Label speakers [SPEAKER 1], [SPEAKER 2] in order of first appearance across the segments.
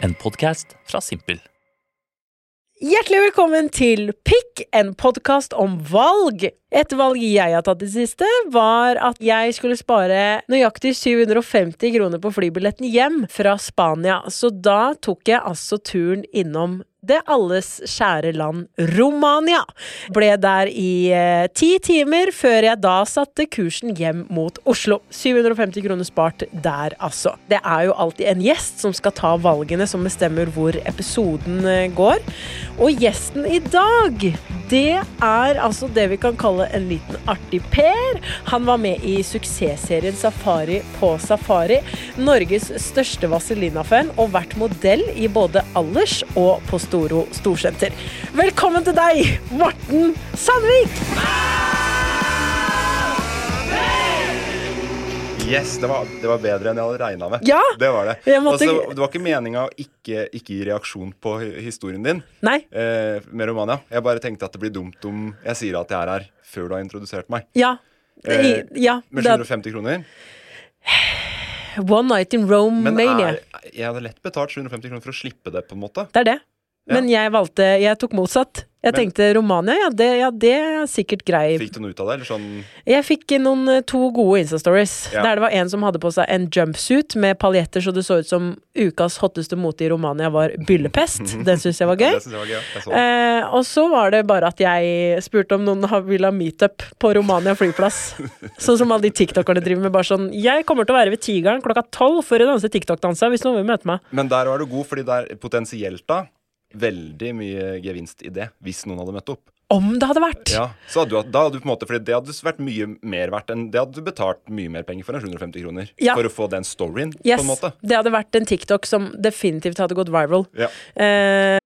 [SPEAKER 1] En podkast fra Simpel.
[SPEAKER 2] Hjertelig velkommen til Pikk, en podkast om valg. Et valg jeg har tatt i det siste, var at jeg skulle spare nøyaktig 750 kroner på flybilletten hjem fra Spania. Så da tok jeg altså turen innom det alles kjære land Romania. Ble der i eh, ti timer før jeg da satte kursen hjem mot Oslo. 750 kroner spart der, altså. Det er jo alltid en gjest som skal ta valgene som bestemmer hvor episoden eh, går. Og gjesten i dag, det er altså det vi kan kalle en liten artig Per. Han var med i suksessserien Safari på Safari, Norges største Vazelina-fan, og vært modell i både Allers og på Storo Storsenter. Velkommen til deg, Morten Sandvik!
[SPEAKER 3] Yes, det var, det var bedre enn jeg hadde regna med.
[SPEAKER 2] Ja,
[SPEAKER 3] det var det.
[SPEAKER 2] jeg måtte-
[SPEAKER 3] Også, det var ikke meninga å ikke, ikke gi reaksjon på hi- historien din
[SPEAKER 2] Nei.
[SPEAKER 3] eh, med Romania. Jeg bare tenkte at det blir dumt om jeg sier at jeg er her før du har introdusert meg.
[SPEAKER 2] Ja. I,
[SPEAKER 3] Eh,
[SPEAKER 2] ja.
[SPEAKER 3] Med
[SPEAKER 2] Det er
[SPEAKER 3] 750 kroner.
[SPEAKER 2] One Night in
[SPEAKER 3] Men
[SPEAKER 2] Romania.
[SPEAKER 3] er, jeg hadde lett betalt 750 kroner for å slippe det, på en måte.
[SPEAKER 2] Det er det. Men jeg valgte Jeg tok motsatt. Jeg
[SPEAKER 3] Men-
[SPEAKER 2] tenkte Romania, ja det, ja, det er sikkert grei
[SPEAKER 3] Fikk du noe ut av det? Eller sånn
[SPEAKER 2] Jeg fikk noen eh, to gode Insta-stories.
[SPEAKER 3] Ja.
[SPEAKER 2] Der det var en som hadde på seg en jumpsuit med paljetter, så det så ut som ukas hotteste mote i Romania var byllepest. Den syns jeg var
[SPEAKER 3] Ja,
[SPEAKER 2] gøy.
[SPEAKER 3] Det synes jeg var gøy. ja. Jeg så det.
[SPEAKER 2] Eh, og så var det bare at jeg spurte om noen har- ville ha meetup på Romania flyplass. sånn som alle de tiktokerne driver med. Bare sånn Jeg kommer til å være ved Tigeren klokka tolv for å danse TikTok-dansa hvis noen vil møte meg.
[SPEAKER 3] Men der var du god, fordi det er potensielt da veldig mye gevinst i det, hvis noen hadde møtt opp.
[SPEAKER 2] Om det hadde vært!
[SPEAKER 3] Ja, så hadde du, hatt- da hadde du på en måte Fordi det hadde vært mye mer verdt enn Det hadde du betalt mye mer penger for enn 750 kroner
[SPEAKER 2] Ja.
[SPEAKER 3] For å få den storyen
[SPEAKER 2] Yes,
[SPEAKER 3] på en måte
[SPEAKER 2] Det hadde vært en TikTok som definitivt hadde gått viral.
[SPEAKER 3] ja.
[SPEAKER 2] Eh,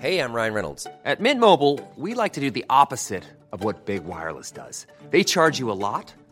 [SPEAKER 4] Hey, I'm Ryan Reynolds. At Mint Mobile, we like to do the opposite of what Big Wireless does. They charge you a lot,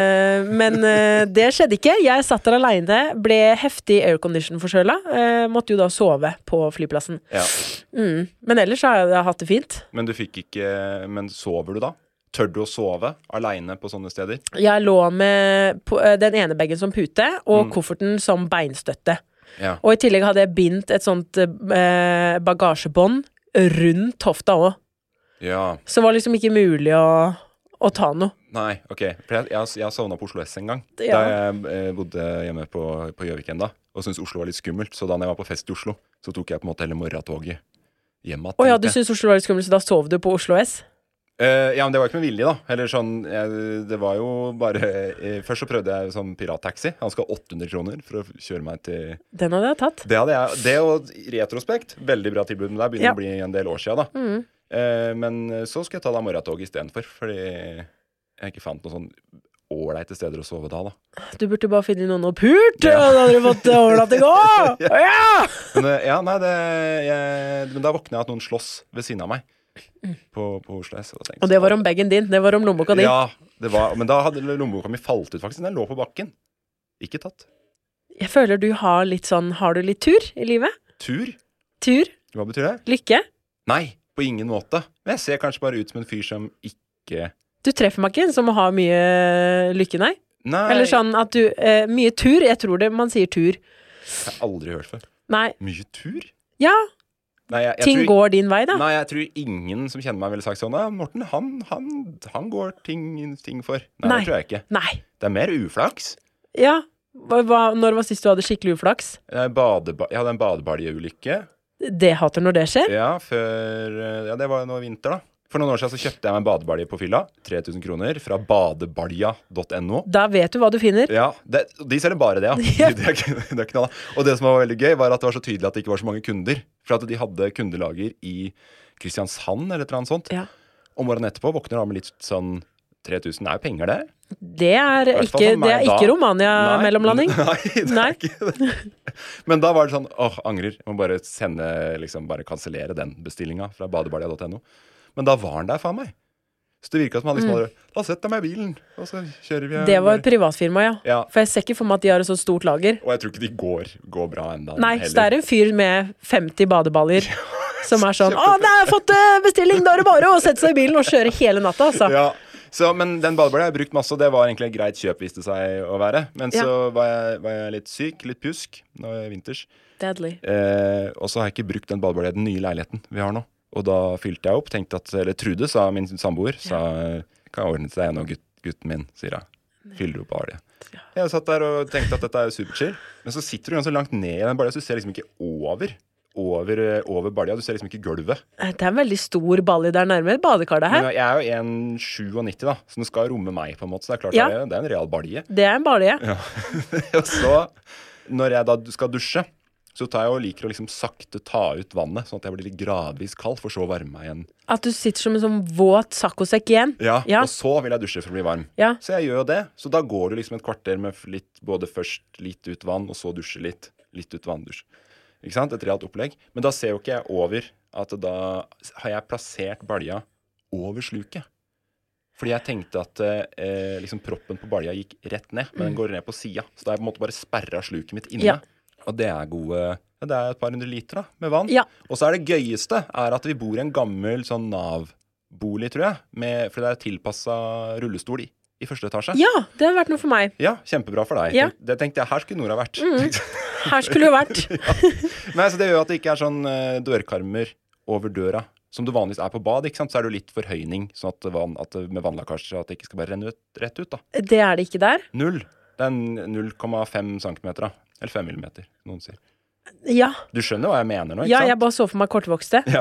[SPEAKER 2] Eh, men eh, det skjedde ikke. Jeg satt der aleine, ble heftig aircondition-forkjøla. eh, måtte jo da sove på flyplassen.
[SPEAKER 3] Ja.
[SPEAKER 2] Mm. Men ellers har jeg hatt det fint.
[SPEAKER 3] Men du fikk ikke Men sover du da? Tør du å sove alene på sånne steder?
[SPEAKER 2] Jeg lå med på, eh, den ene bagen som pute og kofferten som beinstøtte.
[SPEAKER 3] Mm. Ja.
[SPEAKER 2] Og i tillegg hadde jeg bindt et sånt eh, bagasjebånd rundt hofta òg.
[SPEAKER 3] Ja,
[SPEAKER 2] Så det var liksom ikke mulig å, å ta noe.
[SPEAKER 3] nei, ok For jeg, jeg, jeg sovna på Oslo S en gang
[SPEAKER 2] Ja.
[SPEAKER 3] Da jeg eh, bodde hjemme på på Gjøvik enda Og syntes Oslo var litt skummelt Så da jeg var på fest i Oslo Så tok jeg på en måte hele morgentoget hjem igjen,
[SPEAKER 2] Å ja,
[SPEAKER 3] tenkte
[SPEAKER 2] du
[SPEAKER 3] jeg.
[SPEAKER 2] syntes Oslo var litt skummelt, så da sov du på Oslo S?
[SPEAKER 3] Eh, ja, men det var ikke med vilje, da. Eller sånn, jeg, det var jo bare eh, Først så prøvde jeg sånn pirattaxi. Han skal ha 800 kroner for å kjøre meg til
[SPEAKER 2] Den hadde jeg tatt.
[SPEAKER 3] Det hadde jeg, det og i retrospekt, veldig bra tilbud, men det begynner
[SPEAKER 2] Ja. Mm.
[SPEAKER 3] å bli en del år siden da. Eh, men så skal jeg ta da morgentoget istedenfor, fordi jeg ikke fant noen sånn ålreite steder å sove da, da.
[SPEAKER 2] Du burde bare finne noen å pult, og da hadde du fått overnatting òg! Ja!
[SPEAKER 3] Men eh, ja, nei, det, jeg, men da våkna jeg at noen slåss ved siden av meg på, på Oslo S. Og,
[SPEAKER 2] Mm. Og det var om bagen din. Det var om lommeboka di.
[SPEAKER 3] Ja, det var, men da hadde lommeboka mi falt ut, faktisk. Den lå på bakken. Ikke tatt.
[SPEAKER 2] Jeg føler du har litt sånn Har du litt tur i livet?
[SPEAKER 3] Tur?
[SPEAKER 2] Tur?
[SPEAKER 3] Hva betyr det?
[SPEAKER 2] Lykke?
[SPEAKER 3] Nei, på ingen måte. Men jeg ser kanskje bare ut som en fyr som ikke
[SPEAKER 2] Du treffer meg ikke en som har mye eh, lykke, nei.
[SPEAKER 3] Nei,
[SPEAKER 2] Eller sånn at du eh, Mye tur. Jeg tror det man sier tur.
[SPEAKER 3] jeg har aldri hørt før.
[SPEAKER 2] Nei.
[SPEAKER 3] Mye tur?
[SPEAKER 2] Ja,
[SPEAKER 3] Nei, jeg, jeg
[SPEAKER 2] ting
[SPEAKER 3] tror,
[SPEAKER 2] går din vei, da.
[SPEAKER 3] Nei, jeg tror ingen som kjenner meg, ville sagt sånn «Nei, Morten, han, han, han går ting, ting for. Nei,
[SPEAKER 2] Nei.
[SPEAKER 3] det tror jeg ikke.
[SPEAKER 2] Nei.
[SPEAKER 3] Det er mer uflaks.
[SPEAKER 2] Ja. Hva, hva, når var sist du hadde skikkelig uflaks?
[SPEAKER 3] Jeg, badeba jeg hadde en badebaljulykke.
[SPEAKER 2] Det hater når det skjer.
[SPEAKER 3] Ja, før, eh, ja, det var jo nå i vinter, da. For noen år siden så kjøpte jeg meg en badebalje på fylla. 3000 kroner fra badebalja.no.
[SPEAKER 2] Da vet du hva du finner.
[SPEAKER 3] Ja, det, De selger bare det, ja. Det er, ikke- det er knall. Og det som var veldig gøy, var at det var så tydelig at det ikke var så mange kunder. For at de hadde kundelager i Kristiansand eller et eller annet sånt.
[SPEAKER 2] Ja.
[SPEAKER 3] Om morgenen etterpå våkner han med litt sånn 3000 er jo penger, det.
[SPEAKER 2] Det er
[SPEAKER 3] I hvert fall
[SPEAKER 2] ikke,
[SPEAKER 3] for meg
[SPEAKER 2] det er
[SPEAKER 3] da.
[SPEAKER 2] ikke Romania-mellomlanding.
[SPEAKER 3] Nei, det er
[SPEAKER 2] Nei.
[SPEAKER 3] ikke det. Men da var det sånn åh, angrer. Jeg må bare sende, liksom, bare kansellere den bestillinga fra badebalja.no. Men da var den der, faen meg. Så det virka som han liksom hadde Da setter jeg meg i bilen, og så kjører vi.
[SPEAKER 2] Mm. Det var et privatfirma, ja.
[SPEAKER 3] Ja.
[SPEAKER 2] For jeg ser ikke for meg at de har et så stort lager.
[SPEAKER 3] Og jeg tror ikke de går, går bra enda
[SPEAKER 2] Nei, så det er en fyr med 50 badeballer som er sånn Å,
[SPEAKER 3] kjempefett.
[SPEAKER 2] nei, jeg har fått eh, bestilling! Da er det bare å sette seg i bilen og kjøre hele natta, altså.
[SPEAKER 3] ja. så, Men den badebalja har jeg brukt masse, og det var egentlig et greit kjøp, viste det seg å være. Men
[SPEAKER 2] Ja.
[SPEAKER 3] så var jeg, var jeg litt syk, litt pjusk, nå er det vinters.
[SPEAKER 2] Deadly.
[SPEAKER 3] Eh, og så har jeg ikke brukt den badebalja i den nye leiligheten vi har nå. Og da fylte jeg opp, tenkte at Eller Trude, sa min samboer, sa Kan ordne til deg nå, gutt, gutten min, sier jeg. Fyller opp balje. Jeg satt der og tenkte at dette er jo superchill, men så sitter du ganske langt ned i den balja, så du ser liksom ikke over. Over, over balja. Du ser liksom ikke gulvet.
[SPEAKER 2] Eh, Det er en veldig stor balje der nærme badekaret her.
[SPEAKER 3] Men jeg er jo 1,97, da, så den skal romme meg, på en måte. Så det er klart
[SPEAKER 2] Ja.
[SPEAKER 3] det, er, det er en real balje.
[SPEAKER 2] Det er en balje.
[SPEAKER 3] Og så, når jeg da skal dusje, så tar jeg og liker å liksom sakte ta ut vannet, sånn at jeg blir litt gradvis kald, for så å varme meg igjen.
[SPEAKER 2] At du sitter som en sånn våt saccosekk igjen.
[SPEAKER 3] Ja,
[SPEAKER 2] Ja.
[SPEAKER 3] Og så vil jeg dusje for å bli varm.
[SPEAKER 2] Ja.
[SPEAKER 3] Så jeg gjør jo det. Så da går det liksom et kvarter med f- litt, både først litt ut vann, og så dusje litt. Litt ut vann, dusj. Ikke sant? Et realt opplegg. Men da ser jo ikke jeg over at da har jeg plassert balja over sluket. Fordi jeg tenkte at eh, liksom proppen på balja gikk rett ned, men den går ned på sida. Så da har jeg på en måte bare sperra sluket mitt inne.
[SPEAKER 2] Mm. Ja.
[SPEAKER 3] Og det er gode ja, Det er et par hundre liter da, med vann.
[SPEAKER 2] Ja.
[SPEAKER 3] Og så er det gøyeste er at vi bor i en gammel sånn Nav-bolig, tror jeg. Med, for det er tilpassa rullestol i, i første etasje.
[SPEAKER 2] Ja, det hadde vært noe for meg.
[SPEAKER 3] Ja, kjempebra for deg.
[SPEAKER 2] Ja. Mm.
[SPEAKER 3] Tenk- Det tenkte jeg, her skulle Nora vært.
[SPEAKER 2] Her skulle det vært.
[SPEAKER 3] Nei, så Det gjør jo at det ikke er sånn eh, dørkarmer over døra. Som det vanligvis er på bad, ikke sant? så er det jo litt forhøyning sånn at, vann, at det- med vannlekkasje at det ikke skal bare renne ut, rett ut. da.
[SPEAKER 2] Det er det ikke der.
[SPEAKER 3] Null. Det er en 0,5 cm, da. Eller 5 millimeter, noen sier.
[SPEAKER 2] Ja.
[SPEAKER 3] Du skjønner hva jeg mener nå, ikke
[SPEAKER 2] ja, jeg
[SPEAKER 3] sant?
[SPEAKER 2] bare så for meg kortvokste
[SPEAKER 3] Ja.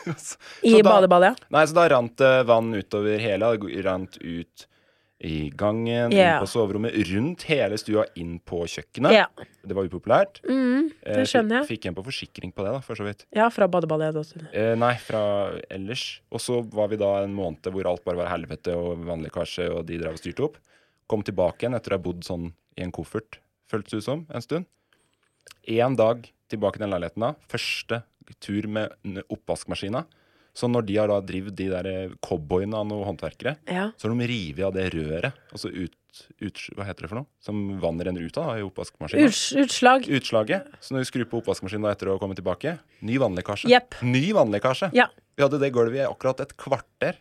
[SPEAKER 2] i
[SPEAKER 3] Så da-
[SPEAKER 2] badebalja.
[SPEAKER 3] Nei, så da rant det vann utover hele. Det rant ut i
[SPEAKER 2] Ja.
[SPEAKER 3] gangen, inn på soverommet, rundt hele stua, inn på kjøkkenet.
[SPEAKER 2] Ja.
[SPEAKER 3] Det var upopulært.
[SPEAKER 2] Mm,
[SPEAKER 3] Eh,
[SPEAKER 2] det skjønner jeg.
[SPEAKER 3] Fikk, fikk en på forsikring på det, da, for så vidt.
[SPEAKER 2] Ja, fra badebalja. da.
[SPEAKER 3] Eh, nei, fra ellers. Og så var vi da en måned hvor alt bare var helvete og vannlekkasje, og de drev og styrte opp. Kom tilbake igjen etter å ha bodd sånn i en koffert, føltes det ut som, en stund. Én dag tilbake til den leiligheten da. Første tur med n- oppvaskmaskina. Så når de har da drevet de der eh, cowboyene av noen håndverkere,
[SPEAKER 2] Ja.
[SPEAKER 3] så har de revet av det røret, altså ut, ut... Hva heter det for noe? Som vannet renner ut av da, i oppvaskmaskina
[SPEAKER 2] Uts utslag.
[SPEAKER 3] utslaget. Så når vi skrur på oppvaskmaskinen da etter å komme tilbake, ny vannlekkasje.
[SPEAKER 2] Jepp.
[SPEAKER 3] Ny vannlekkasje.
[SPEAKER 2] Ja.
[SPEAKER 3] Vi hadde det gulvet i akkurat et kvarter.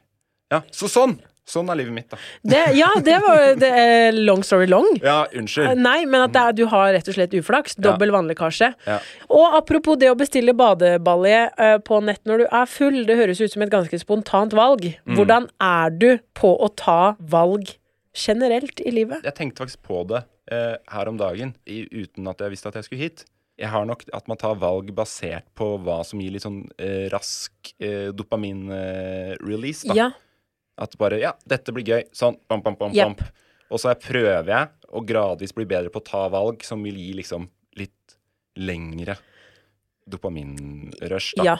[SPEAKER 3] Ja, Så sånn! Sånn er livet mitt, da.
[SPEAKER 2] Det, ja, det var det er long story long.
[SPEAKER 3] Ja, unnskyld.
[SPEAKER 2] Nei, men at det er, du har rett og slett uflaks. Dobbel vannlekkasje.
[SPEAKER 3] Ja.
[SPEAKER 2] Og apropos det å bestille badebalje eh, på nett når du er full, det høres ut som et ganske spontant valg.
[SPEAKER 3] Mm.
[SPEAKER 2] Hvordan er du på å ta valg generelt i livet?
[SPEAKER 3] Jeg tenkte faktisk på det eh, her om dagen i, uten at jeg visste at jeg skulle hit. Jeg har nok at man tar valg basert på hva som gir litt sånn eh, rask eh, dopamin-release, da.
[SPEAKER 2] Ja.
[SPEAKER 3] At bare Ja, dette blir gøy. Sånn. Bam, bam, bam,
[SPEAKER 2] Jepp.
[SPEAKER 3] bam. Og så er- prøver jeg å gradvis bli bedre på å ta valg som vil gi liksom litt lengre dopaminrush. da.
[SPEAKER 2] ja.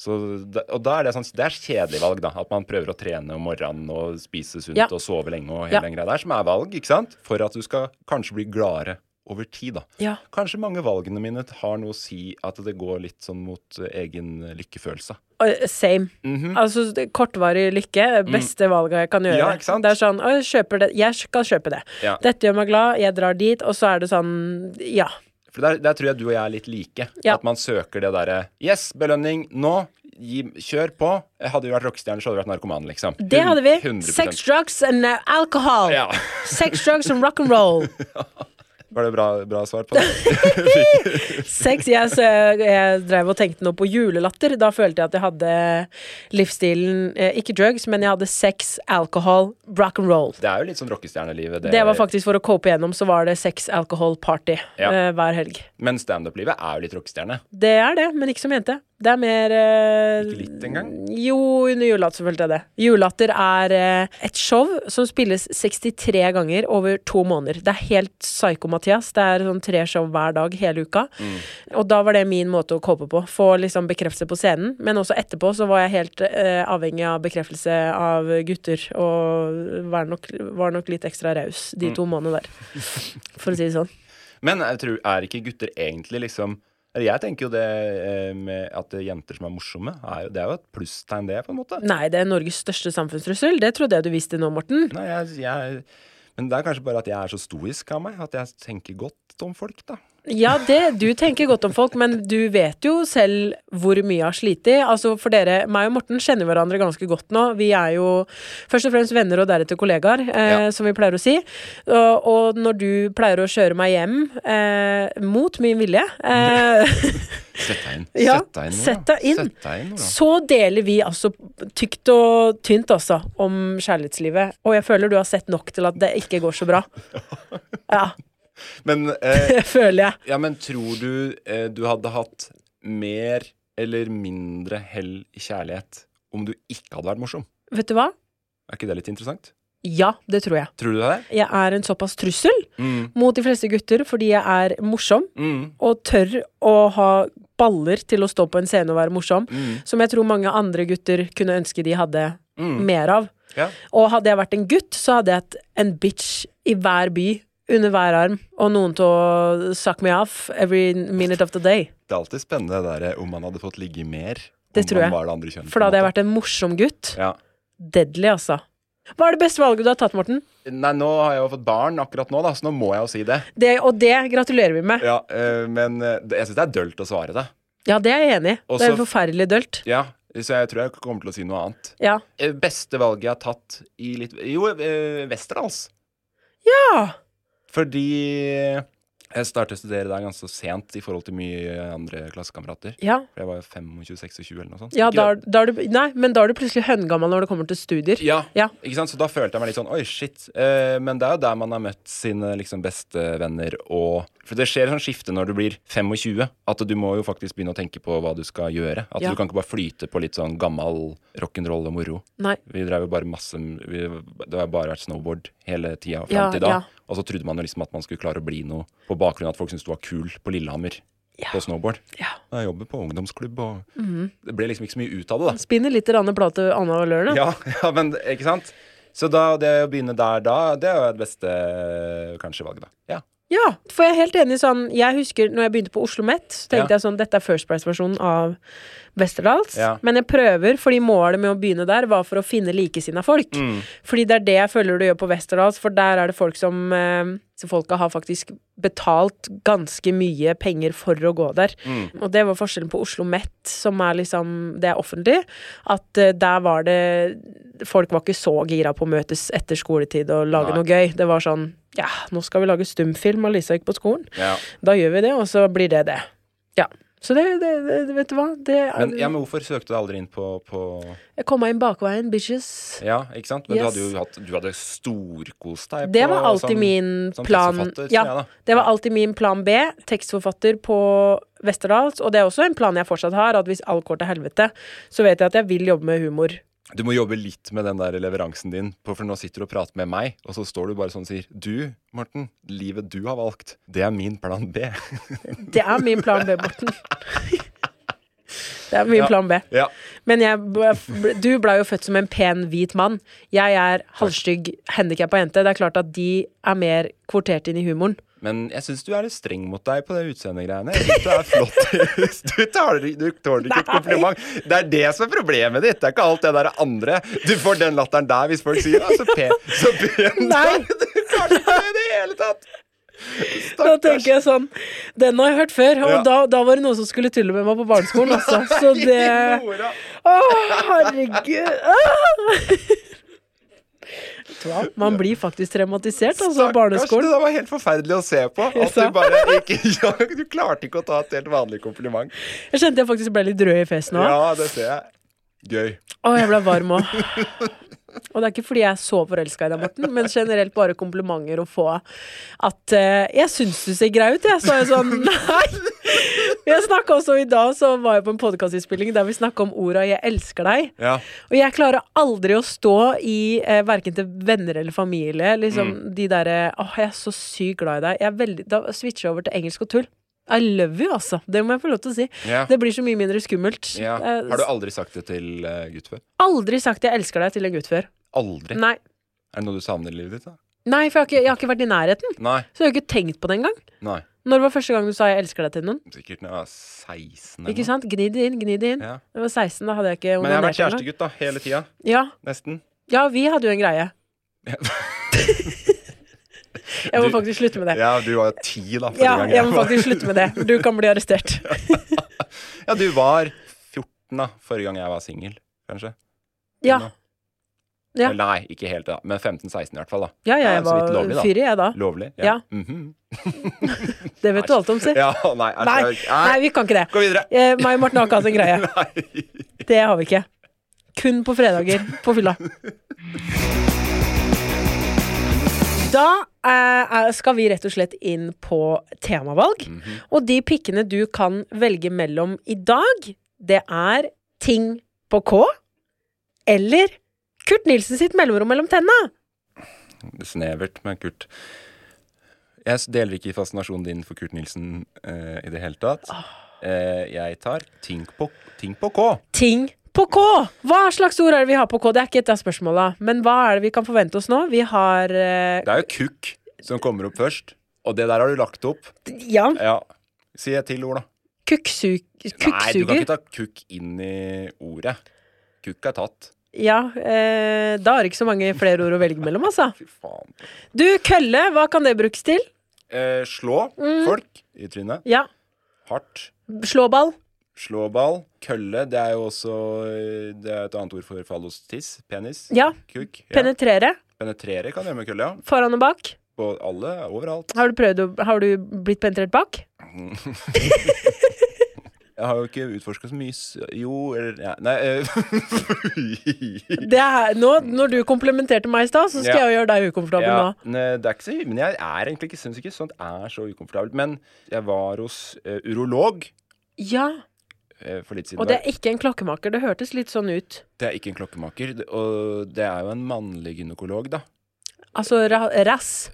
[SPEAKER 3] Så da- og da er det sånn Det er kjedelig valg, da. At man prøver å trene om morgenen og spise sunt
[SPEAKER 2] Ja.
[SPEAKER 3] og sove lenge og hele
[SPEAKER 2] Ja.
[SPEAKER 3] den greia der, som er valg, ikke sant? For at du skal kanskje bli gladere over tid, da.
[SPEAKER 2] Ja.
[SPEAKER 3] Kanskje mange valgene mine har noe å si at det går litt sånn mot eh, egen lykkefølelse.
[SPEAKER 2] Eh, Same. Altså det- kortvarig lykke. Det beste valget jeg kan gjøre.
[SPEAKER 3] Mhm. Mm. Ja, ikke sant?
[SPEAKER 2] Det er sånn «Å, jeg, kjøper det. jeg skal kjøpe det.
[SPEAKER 3] Ja.
[SPEAKER 2] Dette gjør meg glad, jeg drar dit, og så er det sånn Ja.
[SPEAKER 3] For der, der tror jeg du og jeg er litt like.
[SPEAKER 2] Ja.
[SPEAKER 3] At man søker det derre Yes, belønning nå! Gi, kjør på! Hadde vi vært rockestjerner, så hadde vi vært narkoman, liksom.
[SPEAKER 2] Det hadde vi.
[SPEAKER 3] 100%.
[SPEAKER 2] Sex, drugs and uh, alcohol.
[SPEAKER 3] Ja.
[SPEAKER 2] Sex, drugs and rock and roll.
[SPEAKER 3] Var det bra, bra svar på det?
[SPEAKER 2] Sex. Jeg, så, jeg drev og tenkte nå på julelatter. Da følte jeg at jeg hadde livsstilen eh, Ikke drugs, men jeg hadde sex, alcohol, rock and roll.
[SPEAKER 3] Det er jo litt sånn rockestjernelivet.
[SPEAKER 2] Det var faktisk for å cope igjennom, så var det sex, alcohol, party
[SPEAKER 3] Ja.
[SPEAKER 2] eh, hver helg.
[SPEAKER 3] Men standup-livet er jo litt rockestjerne.
[SPEAKER 2] Det er det, men ikke som jente. Det er mer eh,
[SPEAKER 3] Ikke litt engang.
[SPEAKER 2] Jo, under julelatter så følte jeg det. Julelatter er eh, et show som spilles 63 ganger over to måneder. Det er helt psyko-Mathias. Det er sånn tre show hver dag hele uka. Og da var det min måte å cope på. Få liksom bekreftelse på scenen. Men også etterpå så var jeg helt eh, avhengig av bekreftelse av gutter. Og var nok, var nok litt ekstra raus de to månedene der, for å si det sånn.
[SPEAKER 3] Men jeg tror, er ikke gutter egentlig liksom eller Jeg tenker jo det eh, med at det er jenter som er morsomme, er jo, det er jo et plusstegn, det, på en måte.
[SPEAKER 2] Nei, det er Norges største samfunnstrussel. Det trodde jeg du visste nå, Morten.
[SPEAKER 3] Nei, jeg, jeg, men det er kanskje bare at jeg er så stoisk av meg, at jeg tenker godt om folk, da.
[SPEAKER 2] Ja, det, du tenker godt om folk, men du vet jo selv hvor mye jeg har slitt i. Altså for dere, meg og Morten kjenner hverandre ganske godt nå. Vi er jo først og fremst venner og deretter kollegaer, eh,
[SPEAKER 3] Ja.
[SPEAKER 2] som vi pleier å si. Og, og når du pleier å kjøre meg hjem, eh, mot min vilje eh,
[SPEAKER 3] Sett deg inn.
[SPEAKER 2] ja,
[SPEAKER 3] Sett deg inn, Nora.
[SPEAKER 2] sett deg inn.
[SPEAKER 3] Sett deg inn, Nora.
[SPEAKER 2] Så deler vi altså tykt og tynt altså om kjærlighetslivet. Og jeg føler du har sett nok til at det ikke går så bra. Ja,
[SPEAKER 3] Men, eh,
[SPEAKER 2] det føler jeg.
[SPEAKER 3] ja, men tror du eh, du hadde hatt mer eller mindre hell i kjærlighet om du ikke hadde vært morsom?
[SPEAKER 2] Vet du hva?
[SPEAKER 3] Er ikke det litt interessant?
[SPEAKER 2] Ja, det tror jeg.
[SPEAKER 3] Tror du det? er?
[SPEAKER 2] jeg er en såpass trussel
[SPEAKER 3] Mm.
[SPEAKER 2] mot de fleste gutter fordi jeg er morsom
[SPEAKER 3] Mm.
[SPEAKER 2] og tør å ha baller til å stå på en scene og være morsom,
[SPEAKER 3] Mm.
[SPEAKER 2] som jeg tror mange andre gutter kunne ønske de hadde
[SPEAKER 3] Mm.
[SPEAKER 2] mer av.
[SPEAKER 3] Ja.
[SPEAKER 2] Og hadde jeg vært en gutt, så hadde jeg hatt en bitch i hver by. Under hver arm, og noen til å suck me off every minute of the day.
[SPEAKER 3] Det er alltid spennende det der, eh, om man hadde fått ligge mer.
[SPEAKER 2] Det
[SPEAKER 3] om
[SPEAKER 2] tror
[SPEAKER 3] man
[SPEAKER 2] jeg.
[SPEAKER 3] Var det andre kjønnet,
[SPEAKER 2] For da hadde jeg vært en morsom gutt.
[SPEAKER 3] ja.
[SPEAKER 2] Deadly, altså. Hva er det beste valget du har tatt, Morten?
[SPEAKER 3] Nei, nå har jeg jo fått barn akkurat nå, da, så nå må jeg jo si det.
[SPEAKER 2] Det, og det gratulerer vi med.
[SPEAKER 3] Ja, eh, men eh, det- jeg syns det er dølt å svare det.
[SPEAKER 2] Ja, det er jeg enig i. Det
[SPEAKER 3] Også-
[SPEAKER 2] er forferdelig dølt.
[SPEAKER 3] Ja, Så jeg tror jeg kommer til å si noe annet.
[SPEAKER 2] Ja.
[SPEAKER 3] Eh, Beste valget jeg har tatt i litt Jo, eh, Westerdals.
[SPEAKER 2] ja.
[SPEAKER 3] Fordi jeg startet å studere der ganske sent i forhold til mye andre klassekamerater.
[SPEAKER 2] Ja,
[SPEAKER 3] For jeg var jo 25-26 eller noe sånt.
[SPEAKER 2] ja
[SPEAKER 3] Ikke
[SPEAKER 2] da, er-
[SPEAKER 3] det-
[SPEAKER 2] da er du, nei, men da er du plutselig høngammal når det kommer til studier.
[SPEAKER 3] ja,
[SPEAKER 2] Ja.
[SPEAKER 3] ikke sant? Så da følte jeg meg litt sånn Oi, shit. Eh, men det er jo der man har møtt sine liksom, bestevenner og For det skjer et sånt skifte når du blir 25, at du må jo faktisk begynne å tenke på hva du skal gjøre. At
[SPEAKER 2] Ja.
[SPEAKER 3] du kan ikke bare flyte på litt sånn gammal rock'n'roll og moro.
[SPEAKER 2] Nei.
[SPEAKER 3] Vi drev jo bare masse vi, Det har bare vært snowboard hele tida
[SPEAKER 2] Ja,
[SPEAKER 3] fram til da.
[SPEAKER 2] ja.
[SPEAKER 3] Og så trodde man jo liksom at man skulle klare å bli noe på bakgrunn av at folk syntes du var kul på Lillehammer på snowboard.
[SPEAKER 2] Ja. Mhm.
[SPEAKER 3] Jeg jobber på ungdomsklubb og Det ble liksom ikke så mye ut av det, da.
[SPEAKER 2] Spinner litt ranne plate Anna og Lørne.
[SPEAKER 3] Ja, ja, men ikke sant? Så da, det å begynne der da, det er jo det beste kanskje valget, da. Ja.
[SPEAKER 2] Ja, for jeg er helt enig i sånn Jeg husker når jeg begynte på Oslo Met, så tenkte
[SPEAKER 3] Ja.
[SPEAKER 2] jeg sånn Dette er First Price-versjonen av Westerdals.
[SPEAKER 3] Ja.
[SPEAKER 2] Men jeg prøver, fordi målet med å begynne der var for å finne likesinna folk.
[SPEAKER 3] Mm.
[SPEAKER 2] Fordi det er det jeg føler du gjør på Westerdals, for der er det folk som eh, så Folka har faktisk betalt ganske mye penger for å gå der.
[SPEAKER 3] Mm.
[SPEAKER 2] Og det var forskjellen på Oslo Met, som er liksom Det er offentlig. At eh, der var det Folk var ikke så gira på å møtes etter skoletid og lage
[SPEAKER 3] Nei.
[SPEAKER 2] noe gøy. Det var sånn Ja, nå skal vi lage stumfilm, og Lisa gikk på skolen.
[SPEAKER 3] ja.
[SPEAKER 2] Da gjør vi det, og så blir det det. Ja. Så det, det, det Vet du hva? Det er,
[SPEAKER 3] Men, ja, men hvorfor søkte du aldri inn på, på
[SPEAKER 2] Jeg kom meg inn bakveien, bitches.
[SPEAKER 3] Ja, ikke sant? Men
[SPEAKER 2] Yes.
[SPEAKER 3] du hadde jo hatt Du hadde storkost deg
[SPEAKER 2] Det
[SPEAKER 3] på
[SPEAKER 2] var alltid
[SPEAKER 3] som-
[SPEAKER 2] min
[SPEAKER 3] som
[SPEAKER 2] plan
[SPEAKER 3] sånn- tekstforfatter, tror
[SPEAKER 2] Ja,
[SPEAKER 3] jeg, da.
[SPEAKER 2] det var alltid min plan B. Tekstforfatter på Westerdals. Og det er også en plan jeg fortsatt har, at hvis alt går til helvete, så vet jeg at jeg vil jobbe med humor.
[SPEAKER 3] Du må jobbe litt med den der leveransen din, på- for nå sitter du og prater med meg, og så står du bare sånn og sier Du, Morten, livet du har valgt, det er min plan B.
[SPEAKER 2] Det er min plan B, Morten. det er min plan B.
[SPEAKER 3] ja.
[SPEAKER 2] Men jeg, b- du blei jo født som en pen, hvit mann. Jeg er halvstygg, handikappa jente. Det er klart at de er mer kvotert inn i humoren.
[SPEAKER 3] Men jeg syns du er litt streng mot deg på det utseendegreiene. Jeg synes Du er flott. Du tåler, du tåler ikke et kompliment. Det er det som er problemet ditt. Det er ikke alt det der andre. Du får den latteren der hvis folk sier «Å, så pen, så pen du
[SPEAKER 2] Nei.
[SPEAKER 3] er». Du klarer ikke det i det hele tatt.
[SPEAKER 2] Da tenker jeg sånn Den har jeg hørt før, og
[SPEAKER 3] Ja.
[SPEAKER 2] da, da var det noen som skulle tulle med meg på barneskolen også. Så det
[SPEAKER 3] Nora.
[SPEAKER 2] Å, herregud! Ah! vet du hva, man blir faktisk traumatisert, altså,
[SPEAKER 3] Stakkars,
[SPEAKER 2] barneskolen.
[SPEAKER 3] Det var helt forferdelig å se på. At
[SPEAKER 2] Ja.
[SPEAKER 3] du bare ikke ja, Du klarte ikke å ta et helt vanlig kompliment.
[SPEAKER 2] Jeg kjente jeg faktisk ble litt rød i fjes nå.
[SPEAKER 3] Ja, det ser jeg. Gøy.
[SPEAKER 2] Å, jeg ble varm òg. Og det er ikke fordi jeg er så forelska i deg, Morten, men generelt bare komplimenter å få. At eh, 'jeg syns du ser grei ut', jeg. Så er jeg sånn Nei! Jeg snakka også i dag, så var jeg på en podkastinnspilling der vi snakka om orda 'jeg elsker deg'.
[SPEAKER 3] Ja.
[SPEAKER 2] Og jeg klarer aldri å stå i eh, verken til venner eller familie liksom
[SPEAKER 3] Mm.
[SPEAKER 2] de derre 'Åh, jeg er så sykt glad i deg'. Jeg er veldig, da switcher jeg over til engelsk og tull. I love you, altså. Det må jeg få lov til å si.
[SPEAKER 3] Ja.
[SPEAKER 2] Det blir så mye mindre skummelt.
[SPEAKER 3] ja.
[SPEAKER 2] Eh,
[SPEAKER 3] Har du aldri sagt det til eh, gutt før?
[SPEAKER 2] Aldri sagt 'jeg elsker deg' til en gutt før.
[SPEAKER 3] Aldri?
[SPEAKER 2] Nei.
[SPEAKER 3] Er det noe du savner i livet ditt? da?
[SPEAKER 2] Nei, for jeg har, ikke, jeg har ikke vært i nærheten.
[SPEAKER 3] Nei.
[SPEAKER 2] Så jeg har ikke tenkt på det engang.
[SPEAKER 3] Nei.
[SPEAKER 2] Når var første gang du sa 'jeg elsker deg' til noen?
[SPEAKER 3] Sikkert når jeg var 16
[SPEAKER 2] Ikke
[SPEAKER 3] eller noe.
[SPEAKER 2] sant? Gni det inn, gni det inn.
[SPEAKER 3] Ja.
[SPEAKER 2] Jeg var 16, da hadde jeg ikke
[SPEAKER 3] Men jeg har
[SPEAKER 2] onanert
[SPEAKER 3] vært kjærestegutt da, hele tida.
[SPEAKER 2] Ja.
[SPEAKER 3] Nesten.
[SPEAKER 2] ja, vi hadde jo en greie. jeg må
[SPEAKER 3] Du-
[SPEAKER 2] faktisk slutte med det.
[SPEAKER 3] Ja, du var jo ti da forrige
[SPEAKER 2] Ja,
[SPEAKER 3] gang.
[SPEAKER 2] jeg må
[SPEAKER 3] var-
[SPEAKER 2] faktisk slutte med det. Du kan bli arrestert.
[SPEAKER 3] Ja, du var 14 da forrige gang jeg var singel, kanskje.
[SPEAKER 2] Ja. Ja.
[SPEAKER 3] Eller Nei, ikke helt da, men 15-16 i hvert fall. da
[SPEAKER 2] Ja,
[SPEAKER 3] Ja,
[SPEAKER 2] jeg
[SPEAKER 3] så vidt
[SPEAKER 2] var
[SPEAKER 3] lovlig, da.
[SPEAKER 2] fyrig, jeg da.
[SPEAKER 3] Lovlig.
[SPEAKER 2] Ja.
[SPEAKER 3] Mhm.
[SPEAKER 2] Det vet du alt om, si.
[SPEAKER 3] ja nei, æsj,
[SPEAKER 2] Nei,
[SPEAKER 3] jeg-
[SPEAKER 2] nei, vi kan ikke det.
[SPEAKER 3] Gå videre.
[SPEAKER 2] Eh, meg og Morten har ikke hatt en greie.
[SPEAKER 3] Nei.
[SPEAKER 2] Det har vi ikke. Kun på fredager på fylla. Da eh, er- skal vi rett og slett inn på temavalg.
[SPEAKER 3] Mhm.
[SPEAKER 2] Og de pikkene du kan velge mellom i dag, det er ting på K eller Kurt Nilsen sitt mellomrom mellom tenna.
[SPEAKER 3] Snevert med Kurt. Jeg s- deler ikke fascinasjonen din for Kurt Nilsen eh, i det hele tatt.
[SPEAKER 2] Ah.
[SPEAKER 3] Eh, jeg tar ting på, ting på K.
[SPEAKER 2] Ting på K! Hva slags ord er det vi har på K? Det er ikke et av spørsmåla, men hva er det vi kan forvente oss nå? Vi har eh,
[SPEAKER 3] Det er jo kukk som kommer opp først, og det der har du lagt opp.
[SPEAKER 2] Ja,
[SPEAKER 3] Ja. Si et til ord, da.
[SPEAKER 2] kukksug-
[SPEAKER 3] Nei, du kan
[SPEAKER 2] kukksuger.
[SPEAKER 3] ikke ta kukk inn i ordet. Kukk er tatt.
[SPEAKER 2] Ja, eh, da er det ikke så mange flere ord å velge mellom, altså.
[SPEAKER 3] Fy faen.
[SPEAKER 2] Du, kølle, hva kan det brukes til?
[SPEAKER 3] Eh, slå
[SPEAKER 2] Mm.
[SPEAKER 3] folk i trynet.
[SPEAKER 2] Ja,
[SPEAKER 3] Hardt.
[SPEAKER 2] slåball.
[SPEAKER 3] Slåball. Kølle, det er jo også eh, Det er et annet ord for fallostiss. Penis.
[SPEAKER 2] Ja.
[SPEAKER 3] Kuk. Ja.
[SPEAKER 2] Penetrere.
[SPEAKER 3] Penetrere kan gjøre med kølle, ja.
[SPEAKER 2] Foran og bak.
[SPEAKER 3] På alle, overalt.
[SPEAKER 2] Har du, prøvd å, har du blitt penetrert bak?
[SPEAKER 3] Jeg har jo ikke utforska så mye s- Jo, eller ja, Nei eh,
[SPEAKER 2] Det er, nå, når du komplementerte meg i stad, så skal
[SPEAKER 3] Ja.
[SPEAKER 2] jeg jo gjøre deg ukomfortabel
[SPEAKER 3] ja,
[SPEAKER 2] nå.
[SPEAKER 3] ne, Det er ikke så Men jeg er egentlig ikke syns ikke sånt er så ukomfortabelt. Men jeg var hos eh, urolog
[SPEAKER 2] Ja,
[SPEAKER 3] eh, for litt siden.
[SPEAKER 2] og det er ikke en klokkemaker. Det hørtes litt sånn ut.
[SPEAKER 3] det er ikke en klokkemaker. det- Og det er jo en mannlig gynekolog, da.
[SPEAKER 2] Altså ra rass.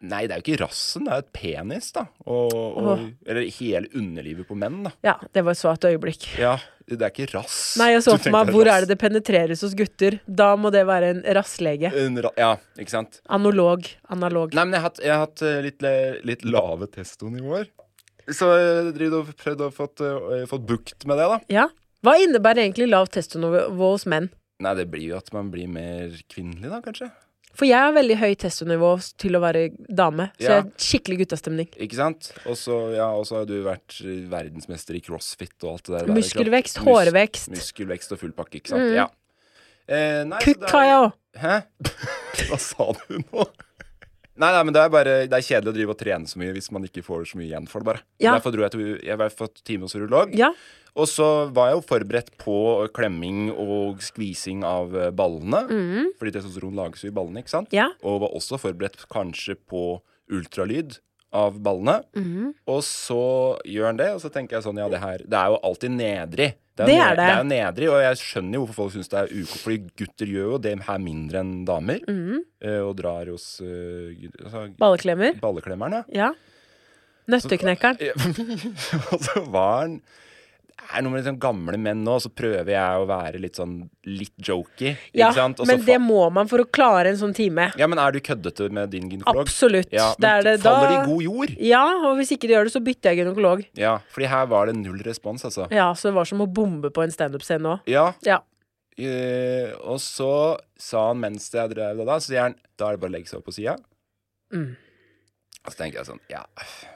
[SPEAKER 3] Nei, det er jo ikke rassen, det er et penis, da. Og, og,
[SPEAKER 2] Åh.
[SPEAKER 3] Eller hele underlivet på menn, da.
[SPEAKER 2] Ja, det var et svakt øyeblikk.
[SPEAKER 3] Ja, Det er ikke rass.
[SPEAKER 2] Nei, jeg så
[SPEAKER 3] Du
[SPEAKER 2] for meg
[SPEAKER 3] tenker
[SPEAKER 2] hvor
[SPEAKER 3] rass.
[SPEAKER 2] er det det penetreres hos gutter. Da må det være en rasslege.
[SPEAKER 3] En ra ja, ikke sant.
[SPEAKER 2] Analog. Analog.
[SPEAKER 3] Nei, men jeg har hatt, jeg har hatt eh, litt, le- litt lave testonivåer. Så jeg driver og prøvd å fått, eh, fått bukt med det, da.
[SPEAKER 2] Ja. Hva innebærer egentlig lav testonivå hos menn?
[SPEAKER 3] Nei, det blir jo at man blir mer kvinnelig, da, kanskje.
[SPEAKER 2] For jeg har veldig høy testonivå s- til å være dame, så
[SPEAKER 3] Ja.
[SPEAKER 2] jeg har skikkelig guttastemning.
[SPEAKER 3] Ikke sant? Og så ja, og så har du vært eh, verdensmester i crossfit og alt det der.
[SPEAKER 2] Muskelvekst,
[SPEAKER 3] Mus-
[SPEAKER 2] hårvekst.
[SPEAKER 3] Muskelvekst og full pakke, ikke sant. Ja. Eh, nei, så
[SPEAKER 2] Kukk
[SPEAKER 3] det er-
[SPEAKER 2] har jeg òg!
[SPEAKER 3] Hæ? Hva sa du nå? Nei, nei, men det er bare Det er kjedelig å drive og trene så mye hvis man ikke får så mye igjen for det, bare.
[SPEAKER 2] Ja.
[SPEAKER 3] Derfor dro jeg til Jeg har fått time hos urolog.
[SPEAKER 2] Ja.
[SPEAKER 3] Og så var jeg jo forberedt på klemming og skvising av eh, ballene. Fordi testosteron lages jo i ballene, ikke sant?
[SPEAKER 2] Mm. Ja.
[SPEAKER 3] Og var også forberedt kanskje på ultralyd av ballene.
[SPEAKER 2] Mm.
[SPEAKER 3] Og så gjør han det, og så tenker jeg sånn Ja, det her Det er jo alltid nedrig.
[SPEAKER 2] Det
[SPEAKER 3] jo
[SPEAKER 2] er det.
[SPEAKER 3] ned- det er jo nedrig, og jeg skjønner jo hvorfor folk syns det er uko, fordi gutter gjør jo det her mindre enn damer.
[SPEAKER 2] Mm.
[SPEAKER 3] eh, Og drar hos eh, gud- altså,
[SPEAKER 2] Balleklemmer.
[SPEAKER 3] balleklemmeren, ja.
[SPEAKER 2] Ja. Nøtteknekkeren.
[SPEAKER 3] Ja, og så var han det er noe med liksom gamle menn nå, så prøver jeg å være litt sånn litt jokey.
[SPEAKER 2] Ja,
[SPEAKER 3] ikke sant? Og så
[SPEAKER 2] men
[SPEAKER 3] fa-
[SPEAKER 2] det må man for å klare en sånn time.
[SPEAKER 3] ja, men er du køddete med din gynekolog?
[SPEAKER 2] Absolutt.
[SPEAKER 3] Ja,
[SPEAKER 2] Det
[SPEAKER 3] men
[SPEAKER 2] er det
[SPEAKER 3] faller
[SPEAKER 2] da-
[SPEAKER 3] det i god jord?
[SPEAKER 2] Ja, og hvis ikke du gjør det, så bytter jeg gynekolog.
[SPEAKER 3] Ja, fordi her var det null respons, altså.
[SPEAKER 2] Ja, så det var som å bombe på en standup-scene nå.
[SPEAKER 3] Ja,
[SPEAKER 2] Ja.
[SPEAKER 3] eh, og så sa han mens jeg drev det da, så sier han da er det bare å legge seg opp på sida.
[SPEAKER 2] Mm.
[SPEAKER 3] Og så tenker jeg sånn ja,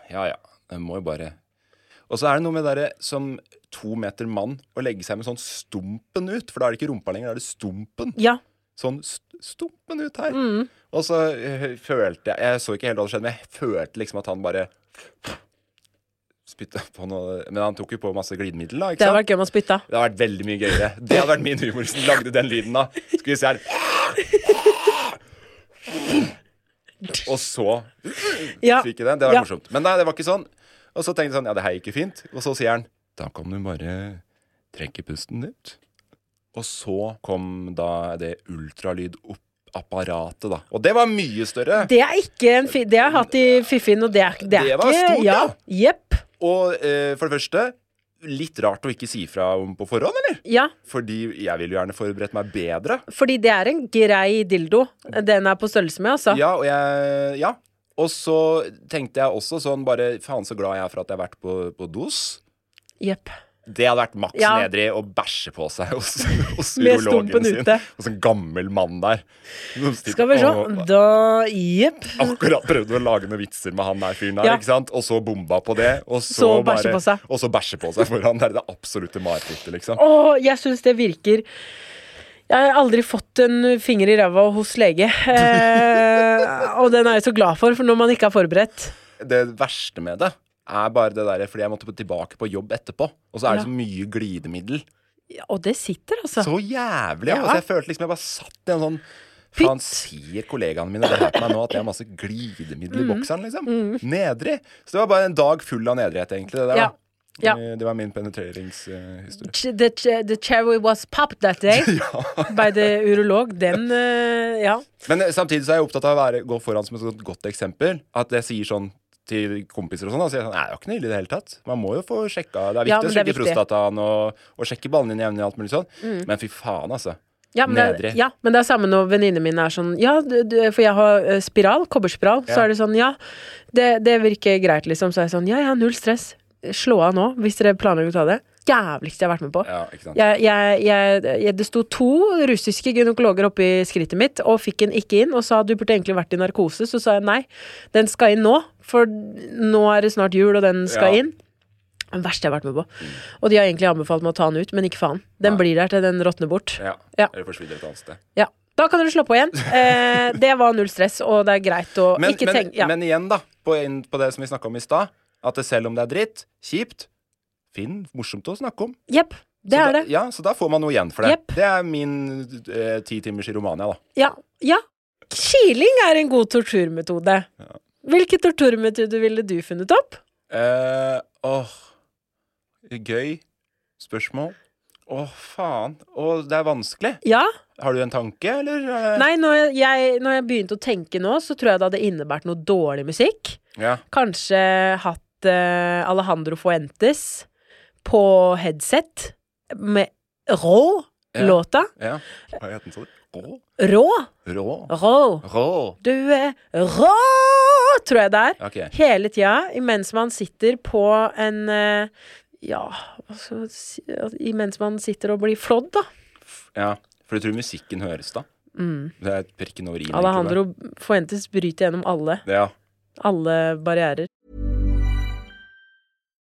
[SPEAKER 3] ja, ja. Jeg må jo bare Og så er det noe med det derre som to meter mann å legge seg med sånn stumpen ut, for da er det ikke rumpa lenger, da er det stumpen.
[SPEAKER 2] Ja. Mm.
[SPEAKER 3] sånn st- stumpen ut her. Og så eh, følte jeg Jeg så ikke helt hva som skjedde, men jeg følte liksom at han bare spytta på noe Men han tok jo på masse glidemiddel, da.
[SPEAKER 2] Det
[SPEAKER 3] Ikke
[SPEAKER 2] hadde
[SPEAKER 3] sant?
[SPEAKER 2] vært gøy om han spytta.
[SPEAKER 3] Det hadde vært veldig mye gøyere. Det hadde vært min humor hvis den lagde den lyden da. Skal vi se her. Og så
[SPEAKER 2] Ja.
[SPEAKER 3] fikk jeg den. Det var
[SPEAKER 2] Ja.
[SPEAKER 3] morsomt. Men nei, det var ikke sånn. Og så tenkte jeg sånn, ja, det her gikk jo fint. Og så sier han, da kan du bare trekke pusten ut. Og så kom da det ultralydapparatet, da. Og det var mye større.
[SPEAKER 2] Det er ikke en fi... Det har jeg hatt i fiffin, og det er, det er
[SPEAKER 3] Det var
[SPEAKER 2] ikke
[SPEAKER 3] stort,
[SPEAKER 2] Ja.
[SPEAKER 3] da.
[SPEAKER 2] Jepp.
[SPEAKER 3] Og eh, for det første, litt rart å ikke si fra om på forhånd, eller?
[SPEAKER 2] Ja.
[SPEAKER 3] Fordi jeg ville jo gjerne forberedt meg bedre.
[SPEAKER 2] Fordi det er en grei dildo. Den er på størrelse med, altså.
[SPEAKER 3] Ja, og jeg Ja. Og så tenkte jeg også sånn bare Faen, så glad jeg er for at jeg har vært på, på dos.
[SPEAKER 2] Jepp.
[SPEAKER 3] Det hadde vært maks
[SPEAKER 2] Ja.
[SPEAKER 3] nedrig å bæsje på seg hos, hos
[SPEAKER 2] Med
[SPEAKER 3] urologen
[SPEAKER 2] stumpen
[SPEAKER 3] sin.
[SPEAKER 2] ute.
[SPEAKER 3] Hos en gammel mann der. Som sitter-
[SPEAKER 2] Skal vi se.
[SPEAKER 3] Åh,
[SPEAKER 2] Da Jepp.
[SPEAKER 3] Akkurat prøvde å lage noen vitser med han der fyren der,
[SPEAKER 2] Ja.
[SPEAKER 3] ikke sant? og så bomba på det. Og så,
[SPEAKER 2] Så bæsje
[SPEAKER 3] bare-
[SPEAKER 2] på seg.
[SPEAKER 3] Og så bæsje på seg foran. Det er det absolutte marerittet, liksom.
[SPEAKER 2] Å, jeg syns det virker Jeg har aldri fått en finger i ræva hos lege. Eh, og den er jeg så glad for, for når man ikke er forberedt.
[SPEAKER 3] det verste med det er bare det der fordi jeg måtte på- tilbake på jobb etterpå. Og så er det
[SPEAKER 2] Ja.
[SPEAKER 3] så mye glidemiddel.
[SPEAKER 2] Ja, og det sitter, altså.
[SPEAKER 3] Så jævlig. Ja.
[SPEAKER 2] Ja.
[SPEAKER 3] Altså, jeg følte liksom jeg bare satt i en sånn Faen, sier kollegaene mine det her til meg nå at jeg har masse
[SPEAKER 2] Mm.
[SPEAKER 3] glidemiddel i bokseren, liksom? Nedrig. Så det var bare en dag full av nedrighet, egentlig. Det, der,
[SPEAKER 2] Ja.
[SPEAKER 3] da.
[SPEAKER 2] Ja.
[SPEAKER 3] Eh, det var min penetreringshistorie.
[SPEAKER 2] Ch- The, ch- the cherry was popped that day by the urolog. Den eh, Ja.
[SPEAKER 3] Men eh, samtidig så er jeg opptatt av å være, gå foran som et sånt godt eksempel. At jeg sier sånn til kompiser og sånn, da sier jeg sånn, nei, det er jo ikke noe ille i det hele tatt. Man må jo få sjekka. Det er viktig
[SPEAKER 2] Ja, men
[SPEAKER 3] å
[SPEAKER 2] det er
[SPEAKER 3] sjekke
[SPEAKER 2] viktig. Mm.
[SPEAKER 3] prostataen og, og sjekke ballene dine jevnlig og alt mulig sånn. Men fy faen, altså.
[SPEAKER 2] Ja, men det,
[SPEAKER 3] Nedre.
[SPEAKER 2] ja, men det er samme når venninnene mine er sånn Ja, du, du, for jeg har eh, spiral, kobberspiral. Så
[SPEAKER 3] Ja.
[SPEAKER 2] er det sånn, ja, det, det virker greit, liksom. Så er jeg sånn, ja, jeg har null stress. Slå av nå, hvis dere planlegger å ta det. Jævligste jeg har vært med på.
[SPEAKER 3] Ja, ikke sant.
[SPEAKER 2] Jeg, jeg, jeg, jeg, det sto to russiske gynekologer oppi skrittet mitt og fikk en ikke inn og sa du burde egentlig vært i narkose. Så sa jeg nei, den skal inn nå, for nå er det snart jul, og den skal
[SPEAKER 3] Ja.
[SPEAKER 2] inn. Den verste jeg har vært med på. Og de har egentlig anbefalt meg å ta den ut, men ikke faen. Den blir der til den råtner bort.
[SPEAKER 3] Ja.
[SPEAKER 2] Ja.
[SPEAKER 3] Eller forsvinner et annet sted.
[SPEAKER 2] Ja. Da kan dere slå på igjen. Eh, det var null stress, og det er greit å
[SPEAKER 3] Men,
[SPEAKER 2] ikke
[SPEAKER 3] men,
[SPEAKER 2] tenke ja.
[SPEAKER 3] men igjen, da, på, inn på det som vi snakka om i stad, at det selv om det er dritt, kjipt, finn morsomt å snakke om.
[SPEAKER 2] Jepp. Det
[SPEAKER 3] så
[SPEAKER 2] er det.
[SPEAKER 3] Da, ja, så da får man noe igjen for det.
[SPEAKER 2] Jepp.
[SPEAKER 3] Det er min eh, ti timers i Romania, da.
[SPEAKER 2] Ja. ja. Kiling er en god torturmetode. Hvilken torturmetode ville du funnet opp?
[SPEAKER 3] Eh, åh Gøy spørsmål. Å, faen. Å, det er vanskelig.
[SPEAKER 2] Ja?
[SPEAKER 3] Har du en tanke, eller? eh?
[SPEAKER 2] Nei, når jeg, når jeg begynte å tenke nå, så tror jeg det hadde innebært noe dårlig musikk.
[SPEAKER 3] Ja.
[SPEAKER 2] Kanskje hatt eh, Alejandro Fuentes på headset med rå
[SPEAKER 3] Ja.
[SPEAKER 2] låta.
[SPEAKER 3] ja. Hva het den, sa du? Rå?
[SPEAKER 2] Rå!
[SPEAKER 3] Rå?
[SPEAKER 2] Rå!
[SPEAKER 3] Rå.
[SPEAKER 2] Du er rå, tror jeg det er.
[SPEAKER 3] Ok.
[SPEAKER 2] Hele tida, imens man sitter på en eh, Ja, hva skal man si Imens man sitter og blir flådd, da.
[SPEAKER 3] Ja. For du tror musikken høres, da? Det er prikken over i-en.
[SPEAKER 2] Mm. Alejandro Fuentes bryter gjennom alle,
[SPEAKER 3] Ja.
[SPEAKER 2] alle barrierer.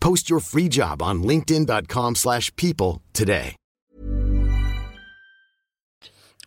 [SPEAKER 5] Post your free job on linkedin.com/people slash people today.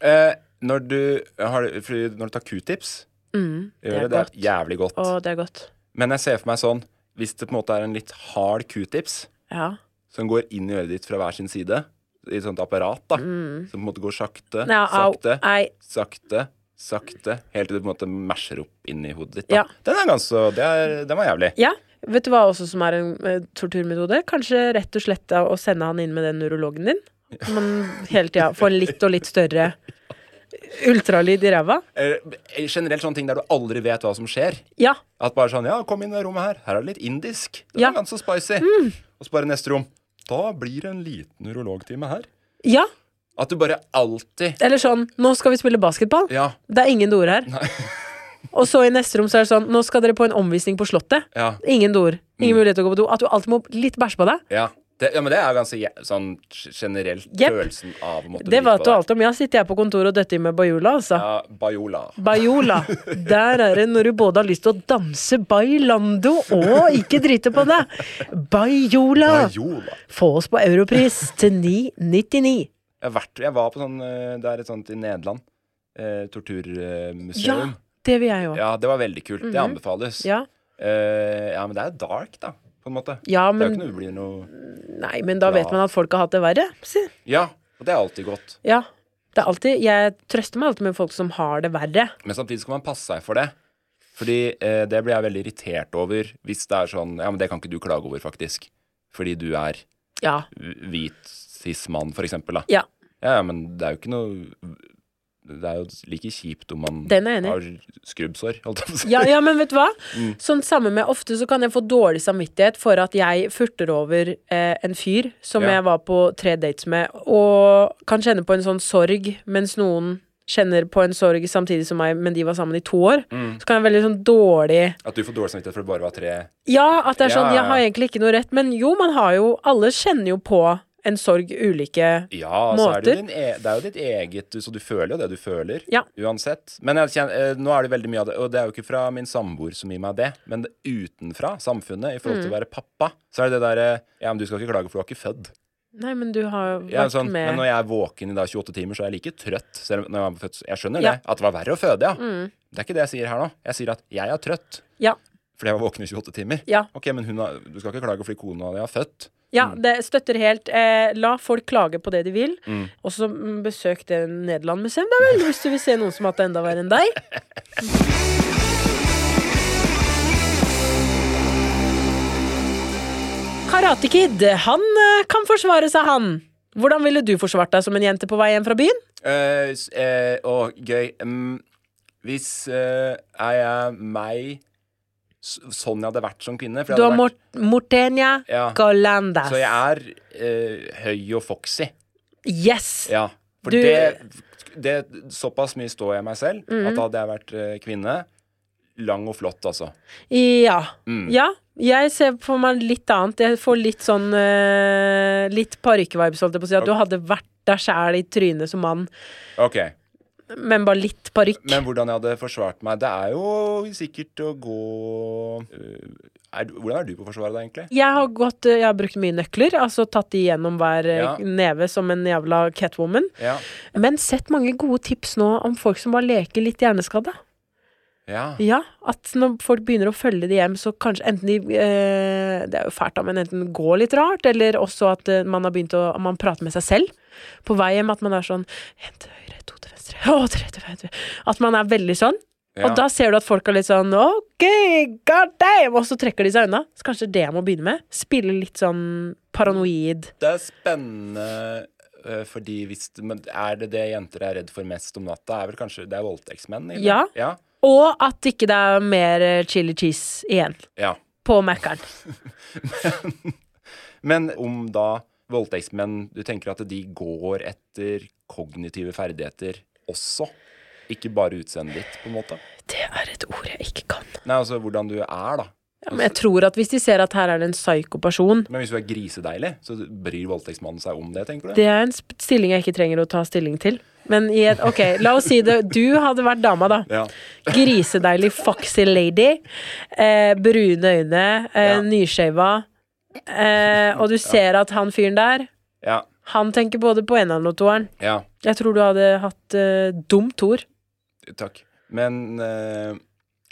[SPEAKER 3] Eh, når, du har, fordi når du tar q-tips, gjør
[SPEAKER 2] Mm, det er
[SPEAKER 3] det, det er
[SPEAKER 2] godt.
[SPEAKER 3] jævlig godt.
[SPEAKER 2] Å, det er godt.
[SPEAKER 3] Men jeg ser for meg sånn Hvis det på en måte er en litt hard q-tips
[SPEAKER 2] Ja.
[SPEAKER 3] som går inn i øret ditt fra hver sin side, i et sånt apparat, da, som på en måte går sakte,
[SPEAKER 2] Mm. Nei, au.
[SPEAKER 3] sakte,
[SPEAKER 2] Nei.
[SPEAKER 3] sakte, sakte, helt til du på en måte masher opp inn i hodet ditt.
[SPEAKER 2] Ja.
[SPEAKER 3] Da. Den er ganske, det er, den var jævlig.
[SPEAKER 2] Ja. Vet du hva også som er en eh, torturmetode? Kanskje rett og slett da å sende han inn med den neurologen din? Men hele tida få en litt og litt større ultralyd i ræva?
[SPEAKER 3] Eh, generelt sånne ting der du aldri vet hva som skjer.
[SPEAKER 2] Ja.
[SPEAKER 3] At bare sånn, ja, kom inn i rommet her, her er det litt indisk. Det
[SPEAKER 2] Ja. Mm.
[SPEAKER 3] er ganske spicy. Og så bare neste rom. Da blir det en liten urologtime her.
[SPEAKER 2] Ja.
[SPEAKER 3] At du bare alltid,
[SPEAKER 2] Eller sånn Nå skal vi spille basketball.
[SPEAKER 3] ja,
[SPEAKER 2] Det er ingen doer her. og så i neste rom så er det sånn Nå skal dere på en omvisning på Slottet.
[SPEAKER 3] ja, Mm.
[SPEAKER 2] Ingen doer. Ingen mulighet til å gå på do. At du alltid må litt bæsje på deg.
[SPEAKER 3] ja. Det, ja, men det er ganske jæ- sånn generelt
[SPEAKER 2] Jep.
[SPEAKER 3] følelsen av å måtte
[SPEAKER 2] Det
[SPEAKER 3] bite
[SPEAKER 2] vet du
[SPEAKER 3] på deg.
[SPEAKER 2] alt om. Ja, sitter jeg på kontoret og døtter i med Bajola, altså.
[SPEAKER 3] Ja, Bajola.
[SPEAKER 2] Bajola. Der er det når du både har lyst til å danse bailando og ikke drite på deg. Bajola!
[SPEAKER 3] Bajola.
[SPEAKER 2] Få oss på Europris til 9,99.
[SPEAKER 3] Jeg, har vært, jeg var på sånn eh, Det er et sånt i Nederland. Eh,
[SPEAKER 2] Ja,
[SPEAKER 3] Torturmuseum.
[SPEAKER 2] det vil jeg
[SPEAKER 3] Ja.
[SPEAKER 2] òg.
[SPEAKER 3] det var veldig kult. Det anbefales.
[SPEAKER 2] Ja.
[SPEAKER 3] Eh, ja, men det er dark, da, på en måte.
[SPEAKER 2] Ja,
[SPEAKER 3] det er jo
[SPEAKER 2] men-
[SPEAKER 3] ikke noe det blir noe
[SPEAKER 2] Nei, men da vet man at folk har hatt det verre. Si.
[SPEAKER 3] Ja, og det er alltid godt.
[SPEAKER 2] Ja. Det er alltid, jeg trøster meg alltid med folk som har det verre.
[SPEAKER 3] Men samtidig skal man passe seg for det. Fordi eh, det blir jeg veldig irritert over hvis det er sånn Ja, men det kan ikke du klage over, faktisk. Fordi du er
[SPEAKER 2] Ja.
[SPEAKER 3] hvit cis-mann, for eksempel. Da.
[SPEAKER 2] Ja.
[SPEAKER 3] Ja, ja, men det er jo ikke noe Det er jo like kjipt om man
[SPEAKER 2] Den er jeg enig i.
[SPEAKER 3] har skrubbsår, holdt jeg på å si.
[SPEAKER 2] Ja, ja, men vet du hva? Sånn samme med Ofte så kan jeg få dårlig samvittighet for at jeg furter over eh, en fyr som
[SPEAKER 3] Ja.
[SPEAKER 2] jeg var på tre dates med, og kan kjenne på en sånn sorg, mens noen kjenner på en sorg samtidig som meg, men de var sammen i to år.
[SPEAKER 3] Mm.
[SPEAKER 2] Så kan jeg veldig sånn dårlig
[SPEAKER 3] At du får dårlig samvittighet for det bare var tre
[SPEAKER 2] Ja, at det er
[SPEAKER 3] Ja,
[SPEAKER 2] sånn
[SPEAKER 3] ja,
[SPEAKER 2] Jeg har
[SPEAKER 3] ja.
[SPEAKER 2] egentlig ikke noe rett, men jo, man har jo Alle kjenner jo på en sorg ulike
[SPEAKER 3] Ja, så er
[SPEAKER 2] Måter.
[SPEAKER 3] det, jo din e det er jo ditt eget du- Så du føler jo det du føler,
[SPEAKER 2] Ja.
[SPEAKER 3] uansett. Men jeg kjenner, eh, nå er det veldig mye av det, og det er jo ikke fra min samboer som gir meg det, men det, utenfra samfunnet, i forhold
[SPEAKER 2] Mm.
[SPEAKER 3] til å være pappa, så er det det derre Ja, men du skal ikke klage, for du var ikke fødd.
[SPEAKER 2] Nei, men du har jo vært
[SPEAKER 3] Ja, sånn,
[SPEAKER 2] med
[SPEAKER 3] men når jeg er våken i da 28 timer, så er jeg like trøtt. Selv om når jeg, var født, jeg skjønner
[SPEAKER 2] Ja. Mm.
[SPEAKER 3] det, at det var verre å føde, ja. Det er ikke det jeg sier her nå. Jeg sier at jeg er trøtt
[SPEAKER 2] Ja.
[SPEAKER 3] fordi jeg var våken i 28 timer.
[SPEAKER 2] Ja.
[SPEAKER 3] Ok, men hun har, du skal ikke klage fordi kona di har født.
[SPEAKER 2] Ja,
[SPEAKER 3] Mm.
[SPEAKER 2] det støtter helt. Eh, la folk klage på det de vil. Og så mm, besøk det Nederland-museet, da vel, hvis du vil se noen som har hatt det enda verre enn deg. Karate Kid, han eh, kan forsvare seg, han. Hvordan ville du forsvart deg som en jente på vei hjem fra byen?
[SPEAKER 3] Eh, s- eh, å, gøy. Mm, hvis eh, er jeg meg s- sånn jeg hadde vært som kvinne for jeg
[SPEAKER 2] Du har
[SPEAKER 3] hadde vært,
[SPEAKER 2] Mort Mortenia
[SPEAKER 3] Ja.
[SPEAKER 2] Galandas.
[SPEAKER 3] Så jeg er eh, høy og foxy.
[SPEAKER 2] Yes!
[SPEAKER 3] Ja. For
[SPEAKER 2] Du-
[SPEAKER 3] det, det Såpass mye står jeg meg selv
[SPEAKER 2] Mhm.
[SPEAKER 3] at da hadde jeg vært eh, kvinne. Lang og flott, altså.
[SPEAKER 2] Ja.
[SPEAKER 3] Mm.
[SPEAKER 2] ja. Jeg ser for meg litt annet. Jeg får litt sånn eh, Litt parykkvibes, holdt jeg på å si. At du hadde vært deg sjæl i trynet som mann,
[SPEAKER 3] Ok,
[SPEAKER 2] men bare litt parykk.
[SPEAKER 3] Men hvordan jeg hadde forsvart meg Det er jo sikkert å gå Eh, er, du- Hvordan er du på å forsvare deg, egentlig?
[SPEAKER 2] Jeg har, gått, eh, jeg har brukt mye nøkler, altså tatt de gjennom hver eh,
[SPEAKER 3] Ja.
[SPEAKER 2] neve som en jævla catwoman.
[SPEAKER 3] Ja.
[SPEAKER 2] Men sett mange gode tips nå om folk som bare leker litt hjerneskadde.
[SPEAKER 3] ja.
[SPEAKER 2] Ja, at når folk begynner å følge de hjem, så kanskje enten de eh, Det er jo fælt, da, men enten gå litt rart, eller også at eh, man har begynt å man prater med seg selv på vei hjem. At man er sånn En til høyre, to til venstre, å, tre til venstre At man er veldig sånn.
[SPEAKER 3] Ja.
[SPEAKER 2] Og da ser du at folk er litt sånn OK, god damn! Og så trekker de seg unna. Så kanskje det jeg må begynne med. Spille litt sånn paranoid.
[SPEAKER 3] Det er spennende eh, fordi hvis Men er det det jenter er redd for mest om natta? Er vel kanskje Det er voldtektsmenn? eller?
[SPEAKER 2] Ja.
[SPEAKER 3] ja.
[SPEAKER 2] Og at ikke det er mer eh, chili cheese igjen
[SPEAKER 3] Ja.
[SPEAKER 2] på Mac-en.
[SPEAKER 3] Men om da voldtektsmenn Du tenker at de går etter kognitive ferdigheter også? Ikke bare utseendet ditt, på en måte?
[SPEAKER 2] Det er et ord jeg ikke kan.
[SPEAKER 3] Nei, altså hvordan du er, da.
[SPEAKER 2] Ja, men jeg tror at hvis de ser at her er det en psykoperson
[SPEAKER 3] Men hvis du er grisedeilig, så bryr voldtektsmannen seg om det, tenker du?
[SPEAKER 2] Det er en sp- stilling jeg ikke trenger å ta stilling til. Men i et, ok, la oss si det. Du hadde vært dama, da.
[SPEAKER 3] Ja.
[SPEAKER 2] Grisedeilig foxy lady. Eh, brune øyne, eh,
[SPEAKER 3] Ja.
[SPEAKER 2] nyskjeva. Eh, og du ser at han fyren der,
[SPEAKER 3] Ja.
[SPEAKER 2] han tenker både på eneren og toeren.
[SPEAKER 3] ja.
[SPEAKER 2] Jeg tror du hadde hatt eh, dumt ord.
[SPEAKER 3] Takk. Men eh,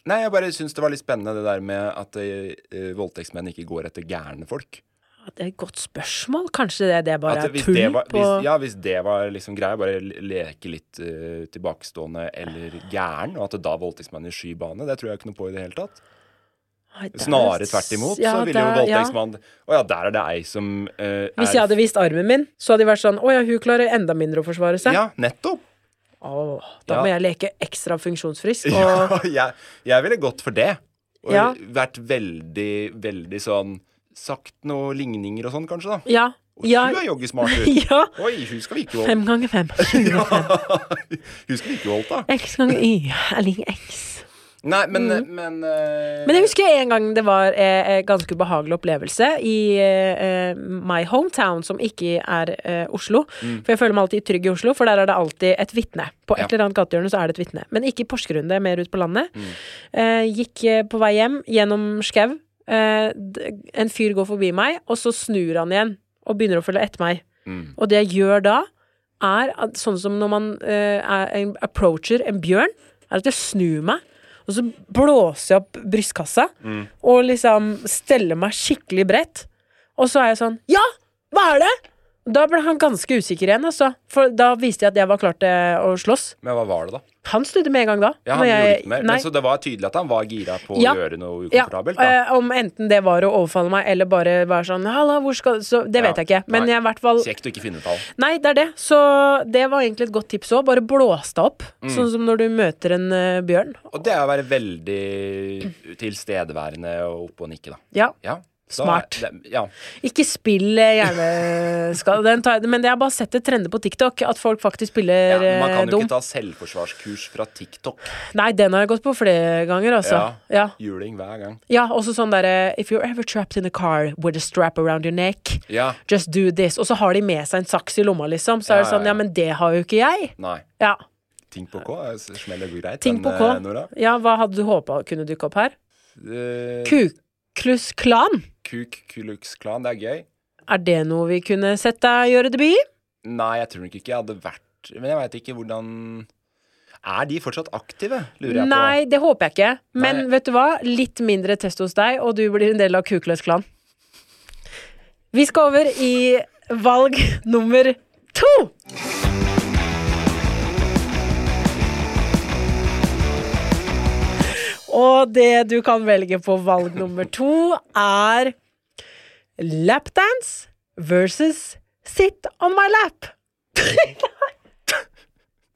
[SPEAKER 3] Nei, jeg bare syns det var litt spennende det der med at eh, eh, voldtektsmenn ikke går etter gærne folk.
[SPEAKER 2] Ja, Det er et godt spørsmål. Kanskje det, det bare er
[SPEAKER 3] At hvis
[SPEAKER 2] tull
[SPEAKER 3] det var,
[SPEAKER 2] på
[SPEAKER 3] hvis, ja, hvis det var liksom greia, bare le- leke litt eh, tilbakestående eller gæren, og at det da voldtektsmannen i skybane, det tror jeg ikke noe på i det hele tatt.
[SPEAKER 2] Nei, det er-
[SPEAKER 3] Snarere tvert imot,
[SPEAKER 2] Ja,
[SPEAKER 3] så ville jo
[SPEAKER 2] det- ja.
[SPEAKER 3] voldtektsmannen Å ja, der er det ei som eh, er
[SPEAKER 2] Hvis jeg hadde vist armen min, så hadde de vært sånn Å ja, hun klarer enda mindre å forsvare seg.
[SPEAKER 3] Ja, nettopp!
[SPEAKER 2] Åh, da
[SPEAKER 3] Ja.
[SPEAKER 2] må jeg leke ekstra funksjonsfrisk. Og
[SPEAKER 3] Ja, jeg, jeg ville gått for det. Og
[SPEAKER 2] Ja.
[SPEAKER 3] vært veldig, veldig sånn Sagt noen ligninger og sånn, kanskje, da.
[SPEAKER 2] ja.
[SPEAKER 3] Og
[SPEAKER 2] Ja.
[SPEAKER 3] hun er joggesmart, hun.
[SPEAKER 2] ja.
[SPEAKER 3] Oi, hun skal vi ikke
[SPEAKER 2] Fem ganger
[SPEAKER 3] vold-
[SPEAKER 2] fem. 20 ganger fem.
[SPEAKER 3] Hun skal vi ikke voldta.
[SPEAKER 2] X ganger Y er lik X.
[SPEAKER 3] Nei, men Men, eh,
[SPEAKER 2] Mm. Men jeg husker en gang det var eh, eh, ganske ubehagelig opplevelse i eh, eh, my hometown, som ikke er eh, Oslo. For jeg føler meg alltid trygg i Oslo, for der er det alltid et vitne. På et
[SPEAKER 3] Ja.
[SPEAKER 2] eller annet gatehjørne så er det et vitne. Men ikke i Porsgrunn, det er mer ut på landet. Eh, gikk eh, på vei hjem gjennom skau. Eh, d- en fyr går forbi meg, og så snur han igjen og begynner å følge etter meg. Og det jeg gjør da, er at, sånn som når man eh, er en approacher en bjørn, er at jeg snur meg, og så blåser jeg opp brystkassa,
[SPEAKER 3] Mm.
[SPEAKER 2] og liksom steller meg skikkelig bredt. Og så er jeg sånn Ja, hva er det?! Da ble han ganske usikker igjen, altså. For da viste jeg at jeg var klar til å slåss.
[SPEAKER 3] men hva var det, da?
[SPEAKER 2] Han snudde med en gang da.
[SPEAKER 3] Ja,
[SPEAKER 2] når
[SPEAKER 3] han
[SPEAKER 2] jeg-
[SPEAKER 3] gjorde ikke mer.
[SPEAKER 2] Nei.
[SPEAKER 3] Men så det var tydelig at han var gira på
[SPEAKER 2] Ja.
[SPEAKER 3] å gjøre noe
[SPEAKER 2] Ja,
[SPEAKER 3] ukomfortabelt. Da.
[SPEAKER 2] eh, om enten det var å overfalle meg, eller bare være sånn Halla, hvor skal du Så det vet
[SPEAKER 3] Ja,
[SPEAKER 2] jeg ikke. Men
[SPEAKER 3] nei.
[SPEAKER 2] jeg i hvert fall
[SPEAKER 3] Kjekt å ikke finne ut av.
[SPEAKER 2] Nei, det er det. Så det var egentlig et godt tips òg. Bare blås deg opp.
[SPEAKER 3] Mm.
[SPEAKER 2] Sånn som når du møter en eh, bjørn.
[SPEAKER 3] Og det er å være veldig tilstedeværende og oppe og nikke, da.
[SPEAKER 2] Ja.
[SPEAKER 3] Ja. Så
[SPEAKER 2] Smart.
[SPEAKER 3] er det- ja.
[SPEAKER 2] Ikke spill eh, hjerneskade. Den tar jeg- Men jeg har bare sett det trende på TikTok, at folk faktisk
[SPEAKER 3] ja,
[SPEAKER 2] spiller
[SPEAKER 3] men man
[SPEAKER 2] eh,
[SPEAKER 3] kan jo
[SPEAKER 2] dum.
[SPEAKER 3] ikke ta selvforsvarskurs fra TikTok.
[SPEAKER 2] Nei, den har jeg gått på flere ganger, altså. Ja. ja.
[SPEAKER 3] Juling hver gang.
[SPEAKER 2] også sånn derre If you're ever trapped in a car with a strap around your neck,
[SPEAKER 3] Ja.
[SPEAKER 2] just do this. Og så har de med seg en saks i lomma, liksom. Så er det
[SPEAKER 3] Ja, ja,
[SPEAKER 2] sånn,
[SPEAKER 3] ja.
[SPEAKER 2] ja, men det har jo ikke jeg.
[SPEAKER 3] Nei.
[SPEAKER 2] Ja.
[SPEAKER 3] Ting på K eh, smeller jo greit.
[SPEAKER 2] Ting på
[SPEAKER 3] men, eh,
[SPEAKER 2] K.
[SPEAKER 3] Nora.
[SPEAKER 2] Ja, hva hadde du håpa kunne dukke opp her?
[SPEAKER 3] eh,
[SPEAKER 2] Kuklus Klan.
[SPEAKER 3] Kuk Kulux Klan, det er gøy.
[SPEAKER 2] Er det noe vi kunne sett deg gjøre debut i?
[SPEAKER 3] Nei, jeg tror nok ikke jeg hadde vært Men jeg veit ikke hvordan Er de fortsatt aktive, lurer jeg
[SPEAKER 2] Nei, det håper jeg ikke. Men
[SPEAKER 3] Nei.
[SPEAKER 2] vet du hva? Litt mindre test hos deg, og du blir en del av Kukløs klan. Vi skal over i valg nummer to! Og det du kan velge på valg nummer to, er lapdance versus sit on my lap.
[SPEAKER 3] på.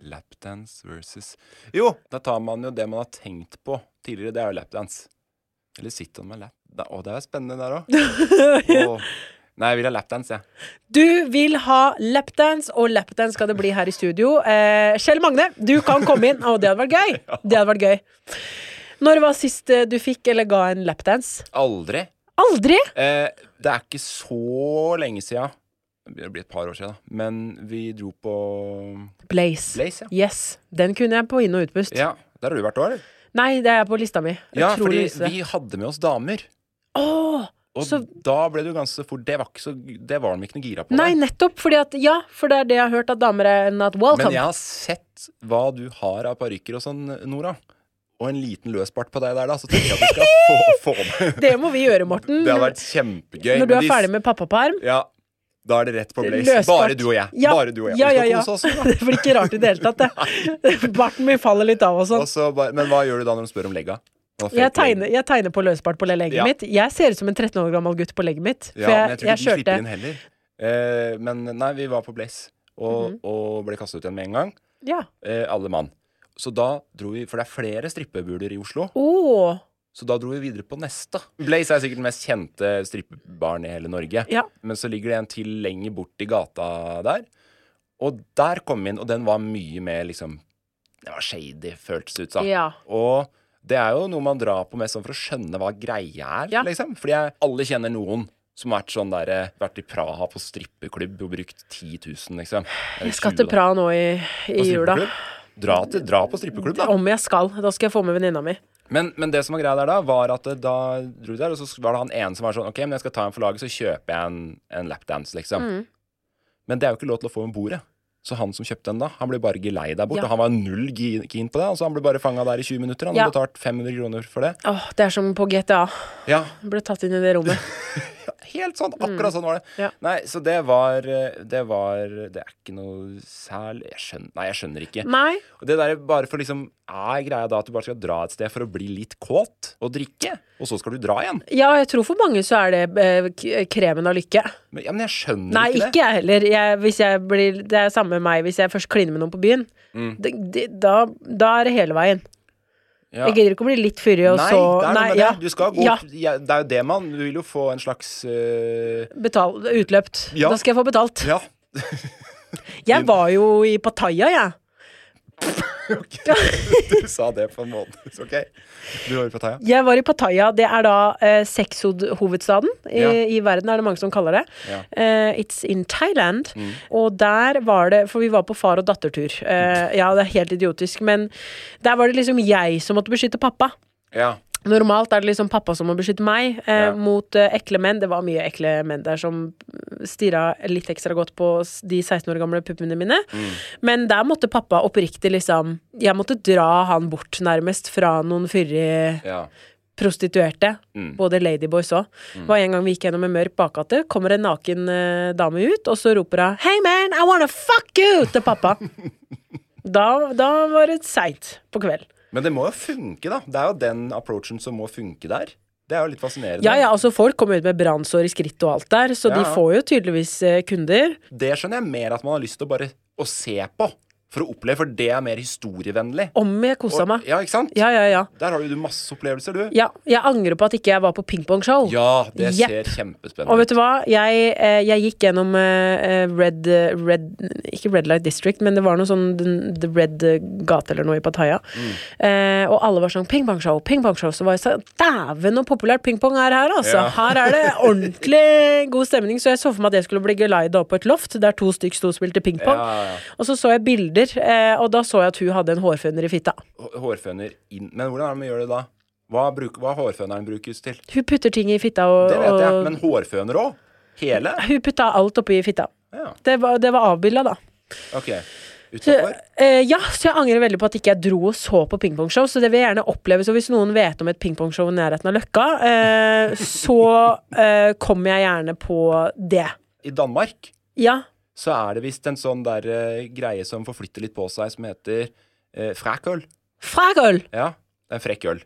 [SPEAKER 3] Lapdance versus Jo, da tar man jo det man har tenkt på tidligere. Det er jo lapdance. Eller sit on my lap. Da, å, det er spennende der òg. Nei, jeg vil ha lapdance, jeg.
[SPEAKER 2] Du vil ha lapdance, og lapdance skal det bli her i studio. Eh, Kjell Magne, du kan komme inn. Å, det hadde vært gøy! Det hadde vært gøy. Når var sist eh, du fikk eller ga en lapdance?
[SPEAKER 3] Aldri.
[SPEAKER 2] Aldri!
[SPEAKER 3] Eh, det er ikke så lenge sia. Det begynner å bli et par år sia, da. Men vi dro på
[SPEAKER 2] Blaze.
[SPEAKER 3] Blaze, ja.
[SPEAKER 2] Yes. Den kunne jeg på inn- og utpust.
[SPEAKER 3] ja. Der har du vært òg, eller?
[SPEAKER 2] Nei, det er på lista mi.
[SPEAKER 3] Ja, fordi
[SPEAKER 2] Utrolig liste.
[SPEAKER 3] vi hadde med oss damer.
[SPEAKER 2] Åh,
[SPEAKER 3] Og
[SPEAKER 2] Så-
[SPEAKER 3] da ble du ganske fort Det var, ikke så, det var de ikke noe gira på.
[SPEAKER 2] Nei,
[SPEAKER 3] der.
[SPEAKER 2] nettopp! Fordi at, ja, for det er det jeg har hørt at damer er not welcome.
[SPEAKER 3] Men jeg har sett hva du har av parykker og sånn, Nora. Og en liten løsbart på deg der, da. Så tenker jeg at du skal få, få med
[SPEAKER 2] Det må vi gjøre, Morten.
[SPEAKER 3] Det hadde vært kjempegøy.
[SPEAKER 2] Mm. Når du er ferdig
[SPEAKER 3] med
[SPEAKER 2] med pappaperm.
[SPEAKER 3] Ja, da er det rett på Blaze.
[SPEAKER 2] Løsbart.
[SPEAKER 3] Bare du og jeg.
[SPEAKER 2] Ja,
[SPEAKER 3] Bare du og jeg.
[SPEAKER 2] Ja,
[SPEAKER 3] Vi
[SPEAKER 2] ja,
[SPEAKER 3] skal
[SPEAKER 2] ja.
[SPEAKER 3] kose oss. da.
[SPEAKER 2] det blir ikke rart i det hele tatt. det. Barten min faller litt av og sånn.
[SPEAKER 3] Og så bare, men hva gjør du da når de spør om legga? Hva fake
[SPEAKER 2] Jeg tegner,
[SPEAKER 3] legg?
[SPEAKER 2] jeg tegner på løsbart på legget
[SPEAKER 3] Ja.
[SPEAKER 2] mitt. Jeg ser ut som en 13 år gammel gutt på legget mitt. For
[SPEAKER 3] Ja, men jeg
[SPEAKER 2] jeg,
[SPEAKER 3] tror ikke
[SPEAKER 2] jeg
[SPEAKER 3] de slipper
[SPEAKER 2] kjørte
[SPEAKER 3] inn heller. Eh, men nei, vi var på Blaze og,
[SPEAKER 2] Mhm.
[SPEAKER 3] og ble kasta ut igjen med en gang.
[SPEAKER 2] ja.
[SPEAKER 3] Eh, alle mann. Så da dro vi For det er flere strippebuler i Oslo.
[SPEAKER 2] Åh,
[SPEAKER 3] Så da dro vi videre på neste. Blaze er sikkert den mest kjente strippebaren i hele Norge.
[SPEAKER 2] Ja.
[SPEAKER 3] Men så ligger det en til lenger bort i gata der. Og der kom vi inn, og den var mye mer liksom Det var shady, føltes det ut som.
[SPEAKER 2] Ja.
[SPEAKER 3] Og det er jo noe man drar på mest sånn for å skjønne hva greia er,
[SPEAKER 2] Ja.
[SPEAKER 3] liksom. Fordi jeg, alle kjenner noen som har vært sånn der, eh, vært i Praha på strippeklubb og brukt 10 000, liksom. Eller
[SPEAKER 2] jeg skal til
[SPEAKER 3] 20 000, da.
[SPEAKER 2] Praha nå i, i
[SPEAKER 3] På
[SPEAKER 2] jula.
[SPEAKER 3] strippeklubb. Dra, til, dra på strippeklubb, da.
[SPEAKER 2] Om jeg skal. Da skal jeg få med venninna mi.
[SPEAKER 3] Men, men det som var greia der da, var at det- da dro vi der, og så var det han ene som var sånn Ok, men jeg skal ta en for laget, så kjøper jeg en, en lapdance, liksom. Men det er jo ikke lov til å få en bordet. Så han som kjøpte den da, han ble bare gelei der borte.
[SPEAKER 2] Ja.
[SPEAKER 3] Og han var null gi- keen på det. Altså han ble bare fanga der i 20 minutter. Han
[SPEAKER 2] Ja.
[SPEAKER 3] hadde betalt 500 kroner for det.
[SPEAKER 2] Åh, det er som på GTA.
[SPEAKER 3] Ja,
[SPEAKER 2] Jeg ble tatt inn i det rommet.
[SPEAKER 3] Helt sånn, akkurat sånn var det.
[SPEAKER 2] Ja.
[SPEAKER 3] Nei, så det var eh, Det var Det er ikke noe særlig jeg skjønner, Nei, jeg skjønner ikke.
[SPEAKER 2] Nei.
[SPEAKER 3] Og det der bare for liksom Er greia da at du bare skal dra et sted for å bli litt kåt og drikke, og så skal du dra igjen?
[SPEAKER 2] Ja, jeg tror for mange så er det eh, k- kremen av lykke.
[SPEAKER 3] Men, ja, men jeg skjønner
[SPEAKER 2] Nei,
[SPEAKER 3] ikke,
[SPEAKER 2] ikke jeg heller. Jeg, hvis jeg blir, det er samme med meg hvis jeg først kliner med noen på byen.
[SPEAKER 3] Mm.
[SPEAKER 2] Det, det, da, da er det hele veien.
[SPEAKER 3] det. Ja.
[SPEAKER 2] Jeg gidder ikke å bli litt fyrig, og
[SPEAKER 3] Nei,
[SPEAKER 2] så
[SPEAKER 3] det er noe med
[SPEAKER 2] altså. ja.
[SPEAKER 3] det. Du skal gå
[SPEAKER 2] Ja,
[SPEAKER 3] ja, Det er jo det, man Du vil jo få en slags eh,
[SPEAKER 2] betal, utløpt.
[SPEAKER 3] Ja.
[SPEAKER 2] Da skal jeg få betalt.
[SPEAKER 3] Ja.
[SPEAKER 2] Jeg var jo i Pattaya, jeg.
[SPEAKER 3] Du sa det på en måte. Så ok. Du var jo på Thaya.
[SPEAKER 2] Jeg var i Pattaya. Det er da eh, sexhovedstaden i,
[SPEAKER 3] Ja.
[SPEAKER 2] i verden, er det mange som kaller det.
[SPEAKER 3] Ja. Mm.
[SPEAKER 2] Eh, it's in Thailand. Og der var det For vi var på far og datter-tur.
[SPEAKER 3] Mm.
[SPEAKER 2] Eh, ja, det er helt idiotisk, men der var det liksom jeg som måtte beskytte pappa.
[SPEAKER 3] Ja.
[SPEAKER 2] Normalt er det liksom pappa som må beskytte meg eh,
[SPEAKER 3] Ja.
[SPEAKER 2] mot eh, ekle menn. Det var mye ekle menn der som stirra litt ekstra godt på s- de 16 år gamle puppene mine. Men der måtte pappa oppriktig liksom Jeg måtte dra han bort, nærmest, fra noen fyrige
[SPEAKER 3] ja.
[SPEAKER 2] prostituerte. Både ladyboys òg. Det Var en gang vi gikk gjennom en mørk bakgate, kommer en naken eh, dame ut, og så roper hun 'Hey man, I wanna fuck you!' til pappa. da, da var det seint på kveld.
[SPEAKER 3] Men det må jo funke, da. Det er jo den approachen som må funke der. Det er jo litt fascinerende.
[SPEAKER 2] Ja, ja, altså Folk kommer ut med brannsår i skrittet og alt der, så
[SPEAKER 3] Ja,
[SPEAKER 2] de
[SPEAKER 3] ja.
[SPEAKER 2] får jo tydeligvis eh, kunder.
[SPEAKER 3] Det skjønner jeg mer at man har lyst til å bare å se på for å oppleve, for det er mer historievennlig.
[SPEAKER 2] Om jeg kosa meg.
[SPEAKER 3] Ja, ikke sant?
[SPEAKER 2] Ja, ja, ja.
[SPEAKER 3] Der har jo du masse opplevelser, du.
[SPEAKER 2] ja jeg angrer på at ikke jeg var på pingpongshow.
[SPEAKER 3] Ja, det
[SPEAKER 2] Jepp.
[SPEAKER 3] ser
[SPEAKER 2] Og
[SPEAKER 3] kjempespennende
[SPEAKER 2] vet du hva? Jeg, eh, jeg gikk gjennom eh, eh, Red, eh, Red Ikke Red Light District, men det var noe sånn den- The Red eh, Gate eller noe i Pattaya.
[SPEAKER 3] Mm.
[SPEAKER 2] Eh, og alle var sånn pingpongshow, pingpongshow. Så var jeg sånn Dæven, så populært pingpong er her, altså!
[SPEAKER 3] Ja.
[SPEAKER 2] Her er det ordentlig god stemning. Så jeg så for meg at jeg skulle bli geleida opp på et loft der to stykk sto og spilte pingpong.
[SPEAKER 3] Ja, ja, ja.
[SPEAKER 2] Og så så jeg bilder, eh, og da så jeg at hun hadde en hårføner i fitta.
[SPEAKER 3] Hå- Hårføner inn Men hvordan er det man gjør det da? Hva, bruk, hva hårføneren brukes til?
[SPEAKER 2] Hun putter ting i fitta og,
[SPEAKER 3] Det vet jeg,
[SPEAKER 2] og
[SPEAKER 3] men hårføner òg? Hele?
[SPEAKER 2] Hun putta alt oppi fitta.
[SPEAKER 3] Ja,
[SPEAKER 2] Det var, det var avbilda, da.
[SPEAKER 3] ok.
[SPEAKER 2] Så,
[SPEAKER 3] Utafor?
[SPEAKER 2] eh, ja, så jeg angrer veldig på at ikke jeg dro og så på pingpongshow. Så det vil jeg gjerne oppleve. Så hvis noen vet om et pingpongshow i nærheten av Løkka, eh, så eh, kommer jeg gjerne på det.
[SPEAKER 3] I Danmark
[SPEAKER 2] Ja.
[SPEAKER 3] så er det visst en sånn der eh, greie som forflytter litt på seg, som heter eh, frækøl.
[SPEAKER 2] Fragøl!
[SPEAKER 3] Ja, det er en frekk øl.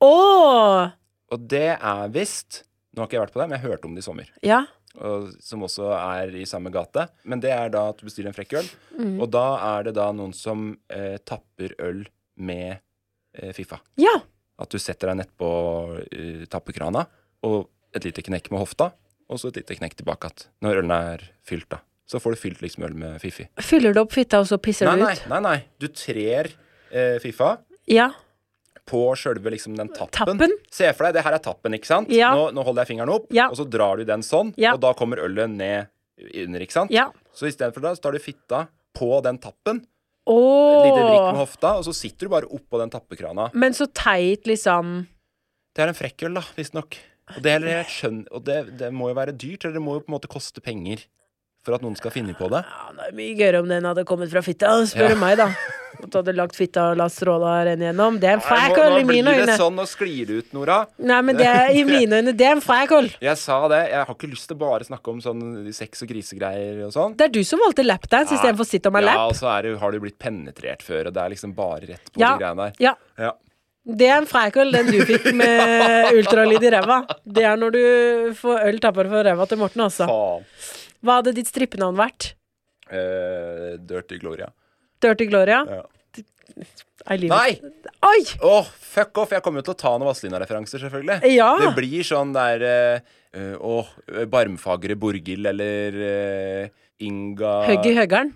[SPEAKER 2] Å!
[SPEAKER 3] Og det er visst Nå har ikke jeg vært på det, men jeg hørte om det i sommer.
[SPEAKER 2] Ja.
[SPEAKER 3] og, som også er i samme gate. Men det er da at du bestiller en frekk øl, og da er det da noen som eh, tapper øl med eh, Fifa.
[SPEAKER 2] Ja.
[SPEAKER 3] At du setter deg nedpå eh, tappekrana, og et lite knekk med hofta, og så et lite knekk tilbake igjen. Når ølen er fylt, da. Så får du fylt liksom øl med Fifi.
[SPEAKER 2] Fyller du opp fitta, og så pisser
[SPEAKER 3] Nei,
[SPEAKER 2] du
[SPEAKER 3] nei,
[SPEAKER 2] ut?
[SPEAKER 3] nei, nei. Du trer eh, Fifa
[SPEAKER 2] Ja.
[SPEAKER 3] på sjølve liksom den tappen.
[SPEAKER 2] Tappen?
[SPEAKER 3] Se for deg, det her er tappen, ikke sant?
[SPEAKER 2] Ja.
[SPEAKER 3] Nå, nå holder jeg fingeren opp,
[SPEAKER 2] Ja.
[SPEAKER 3] og så drar du den sånn,
[SPEAKER 2] Ja.
[SPEAKER 3] og da kommer ølet ned under, ikke sant?
[SPEAKER 2] Ja.
[SPEAKER 3] Så istedenfor det, så tar du fitta på den tappen,
[SPEAKER 2] Å!
[SPEAKER 3] et lite drikk med hofta, og så sitter du bare oppå den tappekrana.
[SPEAKER 2] Men så teit, liksom.
[SPEAKER 3] Det er en frekkøl, da, visstnok. Og, det, eller jeg skjønner, og det, det må jo være dyrt, eller det må jo på en måte koste penger for at noen skal finne på det.
[SPEAKER 2] Ja, det er mye gøyere om den hadde kommet fra fitta, spør
[SPEAKER 3] Ja.
[SPEAKER 2] du meg, da. At du hadde lagt fitta og latt stråla renne gjennom. Det er en
[SPEAKER 3] Nei,
[SPEAKER 2] frækøl i
[SPEAKER 3] nå, nå
[SPEAKER 2] mine
[SPEAKER 3] blir det
[SPEAKER 2] øyne.
[SPEAKER 3] sånn, nå sklir det ut, Nora.
[SPEAKER 2] Nei, men det er i mine øyne, det er en frækøl.
[SPEAKER 3] Jeg sa det. Jeg har ikke lyst til bare å snakke om sånn sex og grisegreier og sånn.
[SPEAKER 2] Det er du som valgte lapdance istedenfor sit on my
[SPEAKER 3] Ja,
[SPEAKER 2] lap.
[SPEAKER 3] og så er det, jo- har du blitt penetrert før, og det er liksom bare rett på
[SPEAKER 2] Ja,
[SPEAKER 3] de greiene der.
[SPEAKER 2] ja.
[SPEAKER 3] Ja.
[SPEAKER 2] Det er en frækøl, den du fikk med ultralyd i ræva. Det er når du får øl tappa for ræva til Morten, altså.
[SPEAKER 3] Faen.
[SPEAKER 2] Hva hadde ditt strippenavn vært?
[SPEAKER 3] Eh, dirty Gloria.
[SPEAKER 2] Dirty Gloria?
[SPEAKER 3] Ja.
[SPEAKER 2] Eileen.
[SPEAKER 3] Nei!
[SPEAKER 2] Oi!
[SPEAKER 3] Åh, fuck off! Jeg kommer jo til å ta noen Vazelina-referanser, selvfølgelig.
[SPEAKER 2] Ja.
[SPEAKER 3] Det blir sånn der eh, eh, Åh, Barmfagre Borghild eller eh, Inga
[SPEAKER 2] Høgg i høggeren.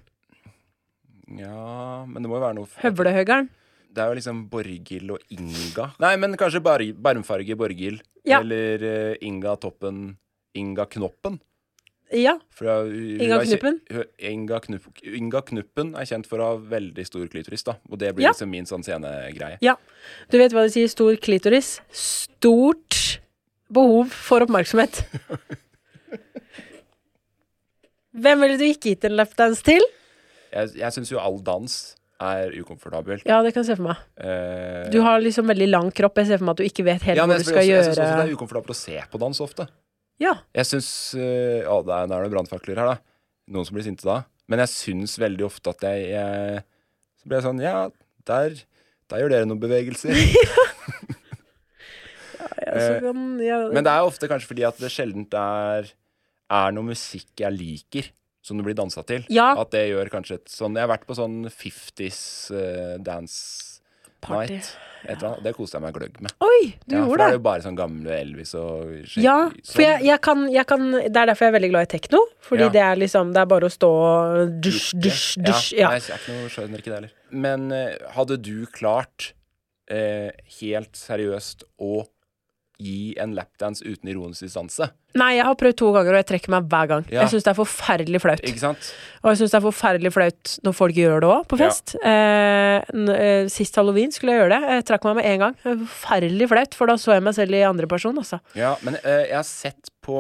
[SPEAKER 3] Ja, men det må jo være noe f-
[SPEAKER 2] Høvlehøggeren.
[SPEAKER 3] Det er jo liksom Borghild og Inga. Nei, men kanskje bar Barmfarge Borghild
[SPEAKER 2] Ja.
[SPEAKER 3] eller eh, Inga Toppen Inga Knoppen.
[SPEAKER 2] Ja.
[SPEAKER 3] For hun, hun
[SPEAKER 2] Inga
[SPEAKER 3] er kje-
[SPEAKER 2] Knuppen?
[SPEAKER 3] hun- Inga, Knup, Inga Knuppen er kjent for å ha veldig stor klitoris, da. Og det blir
[SPEAKER 2] Ja.
[SPEAKER 3] liksom min sånn scenegreie.
[SPEAKER 2] ja. Du vet hva de sier? Stor klitoris. Stort behov for oppmerksomhet. Hvem ville du ikke gitt en lapdance til?
[SPEAKER 3] Jeg, jeg syns jo all dans er ukomfortabel.
[SPEAKER 2] Ja, det kan jeg se for meg.
[SPEAKER 3] Eh,
[SPEAKER 2] Du har liksom veldig lang kropp. Jeg ser for meg at du ikke vet helt
[SPEAKER 3] ja,
[SPEAKER 2] hva
[SPEAKER 3] men
[SPEAKER 2] du
[SPEAKER 3] jeg,
[SPEAKER 2] skal
[SPEAKER 3] jeg, jeg syns
[SPEAKER 2] gjøre.
[SPEAKER 3] også det er ukomfortabelt å se på dans ofte.
[SPEAKER 2] Ja.
[SPEAKER 3] Jeg syns øh, Ja, det er- nå er det brannfakler her, da. Noen som blir sinte da. Men jeg syns veldig ofte at jeg, jeg Så blir jeg sånn Ja, der, der gjør dere noen bevegelser.
[SPEAKER 2] ja, så kan- ja.
[SPEAKER 3] Eh, Men det er ofte kanskje fordi at det sjelden er, er noe musikk jeg liker, som det blir dansa til.
[SPEAKER 2] Ja.
[SPEAKER 3] At det gjør kanskje et sånn Jeg har vært på sånn 50s eh, dance
[SPEAKER 2] Party.
[SPEAKER 3] night. Et eller annet. Det koste jeg meg gløgg med.
[SPEAKER 2] Oi, du
[SPEAKER 3] ja, for
[SPEAKER 2] gjorde
[SPEAKER 3] da er det
[SPEAKER 2] det!
[SPEAKER 3] jo bare sånn gamle Elvis og Shake-
[SPEAKER 2] Ja, for
[SPEAKER 3] sånn.
[SPEAKER 2] jeg, jeg, kan, jeg kan Det er derfor jeg er veldig glad i tekno. Fordi
[SPEAKER 3] Ja.
[SPEAKER 2] det er liksom Det er bare å stå og dusj, dusj, dusj.
[SPEAKER 3] Ja,
[SPEAKER 2] Ja.
[SPEAKER 3] Nei, jeg er ikke noe skjønner ikke det heller. Men eh, hadde du klart, eh, helt seriøst, å gi en lapdance uten ironisk distanse?
[SPEAKER 2] Nei, jeg har prøvd to ganger, og jeg trekker meg hver gang.
[SPEAKER 3] Ja.
[SPEAKER 2] Jeg syns det er forferdelig flaut.
[SPEAKER 3] Ikke sant?
[SPEAKER 2] Og jeg syns det er forferdelig flaut når folk gjør det òg, på
[SPEAKER 3] Ja.
[SPEAKER 2] fest. Eh, n- eh, sist halloween skulle jeg gjøre det. Jeg trakk meg med en gang. Det var Forferdelig flaut, for da så jeg meg selv i andre person, altså.
[SPEAKER 3] Ja, men eh, jeg har sett på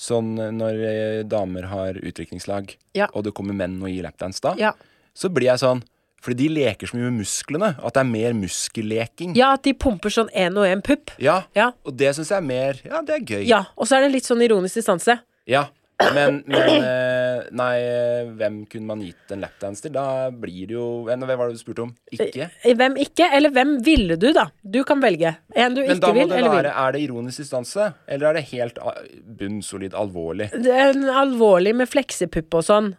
[SPEAKER 3] sånn eh, når eh, damer har utdrikningslag,
[SPEAKER 2] Ja.
[SPEAKER 3] og det kommer menn og gir lapdance da,
[SPEAKER 2] Ja.
[SPEAKER 3] så blir jeg sånn Fordi de leker så mye med musklene, at det er mer muskelleking.
[SPEAKER 2] ja, at de pumper sånn én og én pupp.
[SPEAKER 3] Ja,
[SPEAKER 2] Ja.
[SPEAKER 3] Og det syns jeg er mer Ja, det er gøy.
[SPEAKER 2] Ja, og så er det litt sånn ironisk distanse.
[SPEAKER 3] Ja, Men, men eh, nei, eh, hvem kunne man gitt en lapdance til? Da blir det jo eh, Hva var det du spurte om?
[SPEAKER 2] Eh,
[SPEAKER 3] Ikke?
[SPEAKER 2] Hvem ikke, eller hvem ville du, da? Du kan velge. En du
[SPEAKER 3] Men
[SPEAKER 2] ikke
[SPEAKER 3] da må
[SPEAKER 2] vil,
[SPEAKER 3] det
[SPEAKER 2] eller
[SPEAKER 3] være
[SPEAKER 2] vil.
[SPEAKER 3] Er det ironisk distanse, eller er det helt ah, bunnsolid alvorlig?
[SPEAKER 2] Det er En alvorlig med fleksepupp og sånn.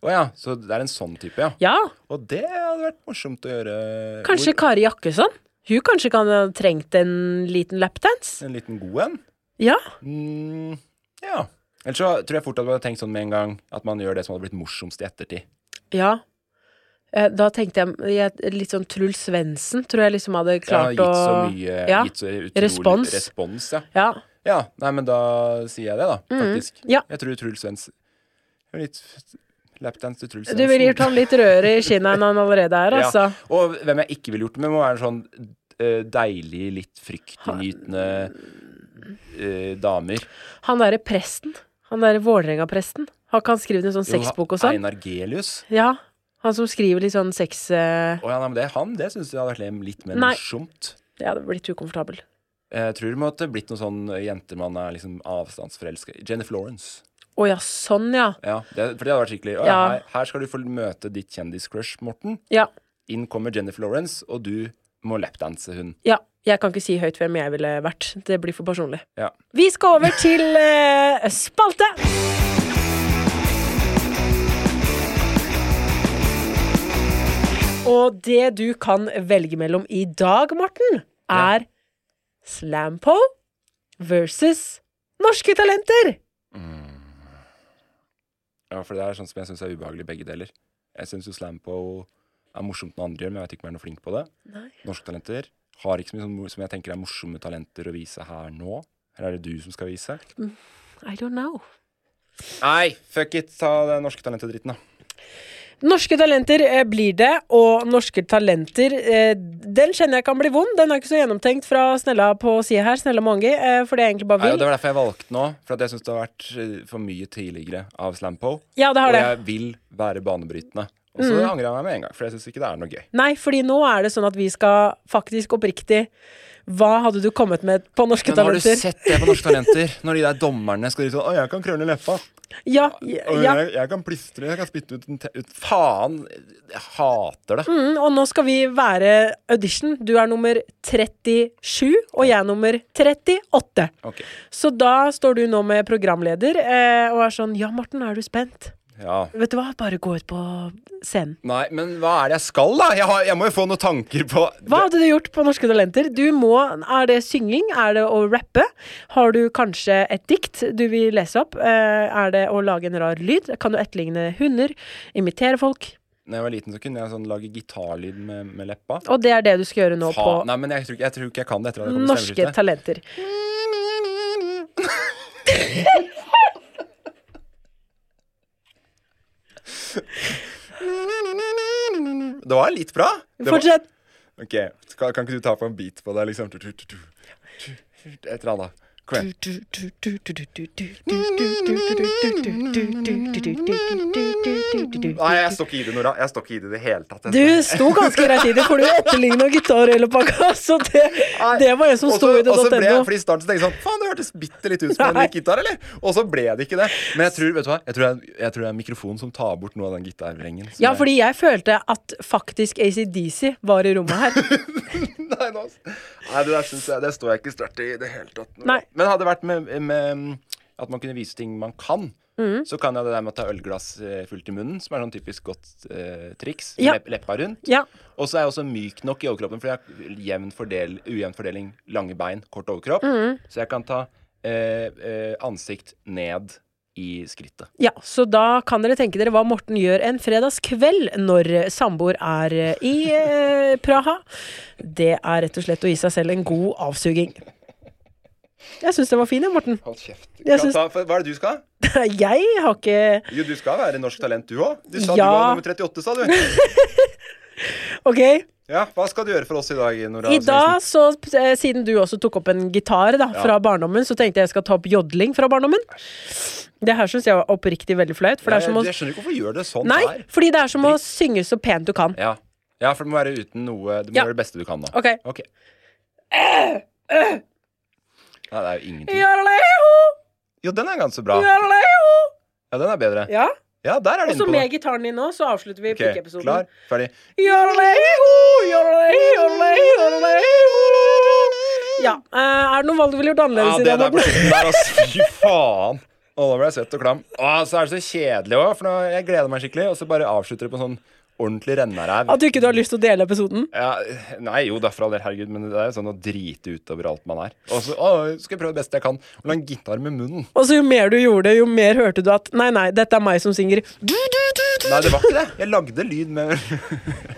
[SPEAKER 3] Å ja, så det er en sånn type, ja.
[SPEAKER 2] Ja,
[SPEAKER 3] Og det hadde vært morsomt å gjøre.
[SPEAKER 2] kanskje
[SPEAKER 3] Hvor-
[SPEAKER 2] Kari Jakkesson? Hun kanskje kan ha trengt en liten lapdance?
[SPEAKER 3] En liten god en?
[SPEAKER 2] Ja.
[SPEAKER 3] Mm, ja. Ellers så tror jeg fort at man hadde tenkt sånn med en gang at man gjør det som hadde blitt morsomst i ettertid.
[SPEAKER 2] Ja. Eh, Da tenkte jeg, jeg litt sånn Truls Svendsen, tror jeg liksom hadde
[SPEAKER 3] Jeg har
[SPEAKER 2] klart
[SPEAKER 3] gitt
[SPEAKER 2] å
[SPEAKER 3] så mye
[SPEAKER 2] ja.
[SPEAKER 3] gitt så utrolig
[SPEAKER 2] Respons.
[SPEAKER 3] respons ja.
[SPEAKER 2] Ja.
[SPEAKER 3] ja. Nei, men da sier jeg det, da, faktisk.
[SPEAKER 2] Mm, ja.
[SPEAKER 3] Jeg tror Truls Svendsen Litt lapdance til Truls
[SPEAKER 2] Du ville gjort han
[SPEAKER 3] Svendsen.
[SPEAKER 2] litt rødere i kinnet enn han allerede er, altså.
[SPEAKER 3] Ja. Og hvem jeg ikke ville gjort det med, må være en sånn eh, deilig, litt fryktinngytende eh, damer.
[SPEAKER 2] Han derre presten, han derre Vålerenga-presten, har ikke han skrevet en sånn
[SPEAKER 3] Jo,
[SPEAKER 2] sexbok og sånn?
[SPEAKER 3] Einar Gelius.
[SPEAKER 2] Ja. Han som skriver litt sånn sex... eh,
[SPEAKER 3] Å ja, nei, men det er han. Det syns jeg hadde vært litt mer
[SPEAKER 2] Nei.
[SPEAKER 3] morsomt.
[SPEAKER 2] Jeg hadde blitt ukomfortabel.
[SPEAKER 3] Jeg tror det måtte blitt noen sånn jenter man er liksom avstandsforelska i. Jennifer Lawrence.
[SPEAKER 2] Å ja, sånn ja.
[SPEAKER 3] Ja, det, for det hadde vært skikkelig. Å, ja.
[SPEAKER 2] Ja.
[SPEAKER 3] Her, her skal du få møte ditt kjendiscrush, Morten.
[SPEAKER 2] Ja.
[SPEAKER 3] Inn kommer Jennifer Lawrence, og du må lapdance hun.
[SPEAKER 2] ja. Jeg kan ikke si høyt hvem jeg ville vært. Det blir for personlig.
[SPEAKER 3] Ja.
[SPEAKER 2] Vi skal over til eh, spalte. Og det du kan velge mellom i dag, Morten, er Slampo versus Norske Talenter.
[SPEAKER 3] ja, for det er sånn som jeg syns er ubehagelig, begge deler. Jeg syns jo slampo er morsomt når andre gjør, men jeg vet ikke om jeg er noe flink på det. Norske talenter har ikke så mye sånn, mo- som jeg tenker er morsomme talenter å vise her nå. Eller er det du som skal vise?
[SPEAKER 2] Mm. I don't know.
[SPEAKER 3] Nei, fuck it! Ta den norske talentet-dritten, da.
[SPEAKER 2] Norske Talenter eh, blir det, og Norske Talenter eh, Den kjenner jeg kan bli vond. Den er ikke så gjennomtenkt fra Snella på sida her, Snella Mongi, eh, for det er egentlig bare
[SPEAKER 3] Nei, og
[SPEAKER 2] vil.
[SPEAKER 3] det var derfor jeg valgte nå, for at jeg syns det har vært eh, for mye tidligere av Slampo.
[SPEAKER 2] Ja, det Mm. har
[SPEAKER 3] og
[SPEAKER 2] det.
[SPEAKER 3] jeg vil være banebrytende. Og så angrer jeg meg med en gang, for jeg syns ikke det er noe gøy.
[SPEAKER 2] Nei, fordi nå er det sånn at vi skal faktisk oppriktig Hva hadde du kommet med på Norske
[SPEAKER 3] Men har du
[SPEAKER 2] Talenter?
[SPEAKER 3] sett det på Norske Talenter? Når de der dommerne skal ut sånn Å, jeg kan krølle leppa.
[SPEAKER 2] Ja, ja,
[SPEAKER 3] Og
[SPEAKER 2] ja.
[SPEAKER 3] jeg, jeg kan plystre. Jeg kan spytte ut en te... Ut. Faen! Jeg hater det.
[SPEAKER 2] Mm, og nå skal vi være audition. Du er nummer 37, og jeg er nummer 38.
[SPEAKER 3] Ok.
[SPEAKER 2] Så da står du nå med programleder eh, og er sånn Ja, Morten, er du spent?
[SPEAKER 3] Ja.
[SPEAKER 2] Vet du hva, bare gå ut på scenen.
[SPEAKER 3] Nei, men hva er det jeg skal, da? Jeg, har, jeg må jo få noen tanker på
[SPEAKER 2] Hva hadde du gjort på Norske Talenter? Du må, Er det synging? Er det å rappe? Har du kanskje et dikt du vil lese opp? Eh, er det å lage en rar lyd? Kan du etterligne hunder? Imitere folk?
[SPEAKER 3] Når jeg var liten, så kunne jeg sånn lage gitarlyd med, med leppa.
[SPEAKER 2] Og det er det du skal gjøre nå
[SPEAKER 3] Faen. Nei, men jeg tror, ikke- jeg tror ikke jeg kan det etter at
[SPEAKER 2] på
[SPEAKER 3] jeg kom i
[SPEAKER 2] Norske
[SPEAKER 3] stemmeskiftet.
[SPEAKER 2] Talenter.
[SPEAKER 3] Det var litt bra. Det var,
[SPEAKER 2] Fortsett.
[SPEAKER 3] Ok, skal, Kan ikke du ta på en bit på det? liksom? Tu, tu, tu, tu, tu, Et eller annet. Kve. Nei, jeg står ikke i det, Nora. Jeg står ikke i det i det hele tatt.
[SPEAKER 2] Du sto ganske greit i det, for du etterligna gitarrellepakka. Så det, det var jeg som sto i det.
[SPEAKER 3] Og så ble jeg
[SPEAKER 2] .no.
[SPEAKER 3] for i starten så tenkte jeg sånn Faen, det hørtes bitte litt ut som en
[SPEAKER 2] Nei.
[SPEAKER 3] lik gitar, eller? Og så ble det ikke det. Men jeg tror, vet du hva, jeg tror, det er- jeg tror det er mikrofonen som tar bort noe av den gitarvrengen. som
[SPEAKER 2] Ja,
[SPEAKER 3] jeg-
[SPEAKER 2] fordi jeg følte at faktisk ACDC var i rommet her.
[SPEAKER 3] Nei, nå, nei, det der synes jeg Det står jeg ikke sterkt i i det hele tatt.
[SPEAKER 2] Nei.
[SPEAKER 3] Men hadde det vært med, med mm, at man kunne vise ting man kan,
[SPEAKER 2] Mm.
[SPEAKER 3] så kan jeg det der med å ta ølglass eh, fullt i munnen, som er sånn typisk godt eh, triks.
[SPEAKER 2] Ja.
[SPEAKER 3] Lepp, leppa rundt.
[SPEAKER 2] Ja.
[SPEAKER 3] Og så er jeg også myk nok i overkroppen, for jeg har jevn fordel, ujevn fordeling, lange bein, kort overkropp.
[SPEAKER 2] Mm.
[SPEAKER 3] Så jeg kan ta eh, eh, ansikt ned i skrittet.
[SPEAKER 2] ja, Så da kan dere tenke dere hva Morten gjør en fredagskveld når eh, samboer er eh, i eh, Praha. Det er rett og slett å gi seg selv en god avsuging. Jeg syns den var fin, jeg, Morten.
[SPEAKER 3] Hold kjeft.
[SPEAKER 2] Jeg syns-
[SPEAKER 3] Hva er det du skal?
[SPEAKER 2] Jeg har ikke
[SPEAKER 3] Jo, du skal være norsk talent, du òg. Du sa du var
[SPEAKER 2] Ja.
[SPEAKER 3] nummer 38, sa du.
[SPEAKER 2] Ok,
[SPEAKER 3] Ja, Hva skal du gjøre for oss i dag, Nora?
[SPEAKER 2] I
[SPEAKER 3] Svendsen?
[SPEAKER 2] dag, så, eh, siden du også tok opp en gitar da, fra barndommen, så tenkte jeg jeg skal ta opp jodling fra barndommen. Det her syns jeg var oppriktig veldig flaut. For det
[SPEAKER 3] Jeg,
[SPEAKER 2] er som å,
[SPEAKER 3] jeg skjønner ikke hvorfor du gjør det sånn
[SPEAKER 2] nei,
[SPEAKER 3] her.
[SPEAKER 2] fordi det er som å synge så pent du kan.
[SPEAKER 3] Ja. ja, for det må være uten noe Det må
[SPEAKER 2] Ja.
[SPEAKER 3] være det beste du kan, da.
[SPEAKER 2] Ok. Eh,
[SPEAKER 3] Ok. Nei, det er jo ingenting.
[SPEAKER 2] Jodeleho,
[SPEAKER 3] Jo, den er ganske bra.
[SPEAKER 2] jodeleho.
[SPEAKER 3] Ja, den er bedre.
[SPEAKER 2] Ja.
[SPEAKER 3] Ja, der er du
[SPEAKER 2] Og så
[SPEAKER 3] inne på
[SPEAKER 2] med
[SPEAKER 3] noe.
[SPEAKER 2] gitaren din nå, så avslutter vi
[SPEAKER 3] Ok,
[SPEAKER 2] pikkeepisoden.
[SPEAKER 3] Klar, ferdig.
[SPEAKER 2] Jodeleho, jodeleho, jodeleho, jodeleho. Ja. eh, er det noe valg du ville gjort
[SPEAKER 3] Ja,
[SPEAKER 2] annerledes i
[SPEAKER 3] det
[SPEAKER 2] dag,
[SPEAKER 3] der på
[SPEAKER 2] Morten?
[SPEAKER 3] slutten der, altså. Fy faen. Å, da ble jeg søt og klam. Å, så er det så kjedelig òg, for nå, jeg gleder meg skikkelig, og så bare avslutter det på en sånn ordentlig rennaræv.
[SPEAKER 2] At du ikke du har lyst til å dele episoden?
[SPEAKER 3] Ja, nei, jo da, for all del, herregud, men det er jo sånn å drite ut over alt man er. Og så å, skal jeg prøve det beste jeg kan. Og la en gitar med munnen.
[SPEAKER 2] Og så jo mer du gjorde det, jo mer hørte du at Nei, nei, dette er meg som synger. Du, du, du, du.
[SPEAKER 3] Nei, det var ikke det. Jeg lagde lyd med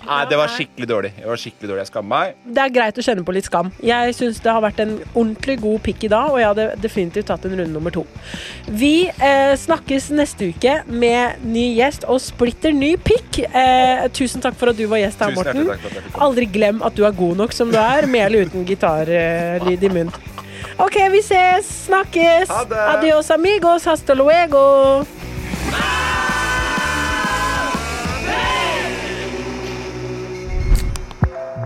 [SPEAKER 3] Nei, det var skikkelig dårlig. Jeg var skikkelig dårlig. Jeg skammer meg.
[SPEAKER 2] Det er greit å kjenne på litt skam. Jeg syns det har vært en ordentlig god pikk i dag, og jeg hadde definitivt tatt en runde nummer to. Vi eh, snakkes neste uke med ny gjest og splitter ny pikk. Eh, tusen takk for at du var gjest her,
[SPEAKER 3] Tusen hjertelig
[SPEAKER 2] Morten.
[SPEAKER 3] takk for at jeg fikk komme.
[SPEAKER 2] Aldri glem at du er god nok som du er, med eller uten gitarlyd i munnen. OK, vi ses. Snakkes.
[SPEAKER 3] Ha det.
[SPEAKER 2] Adios amigos. Hasta luego.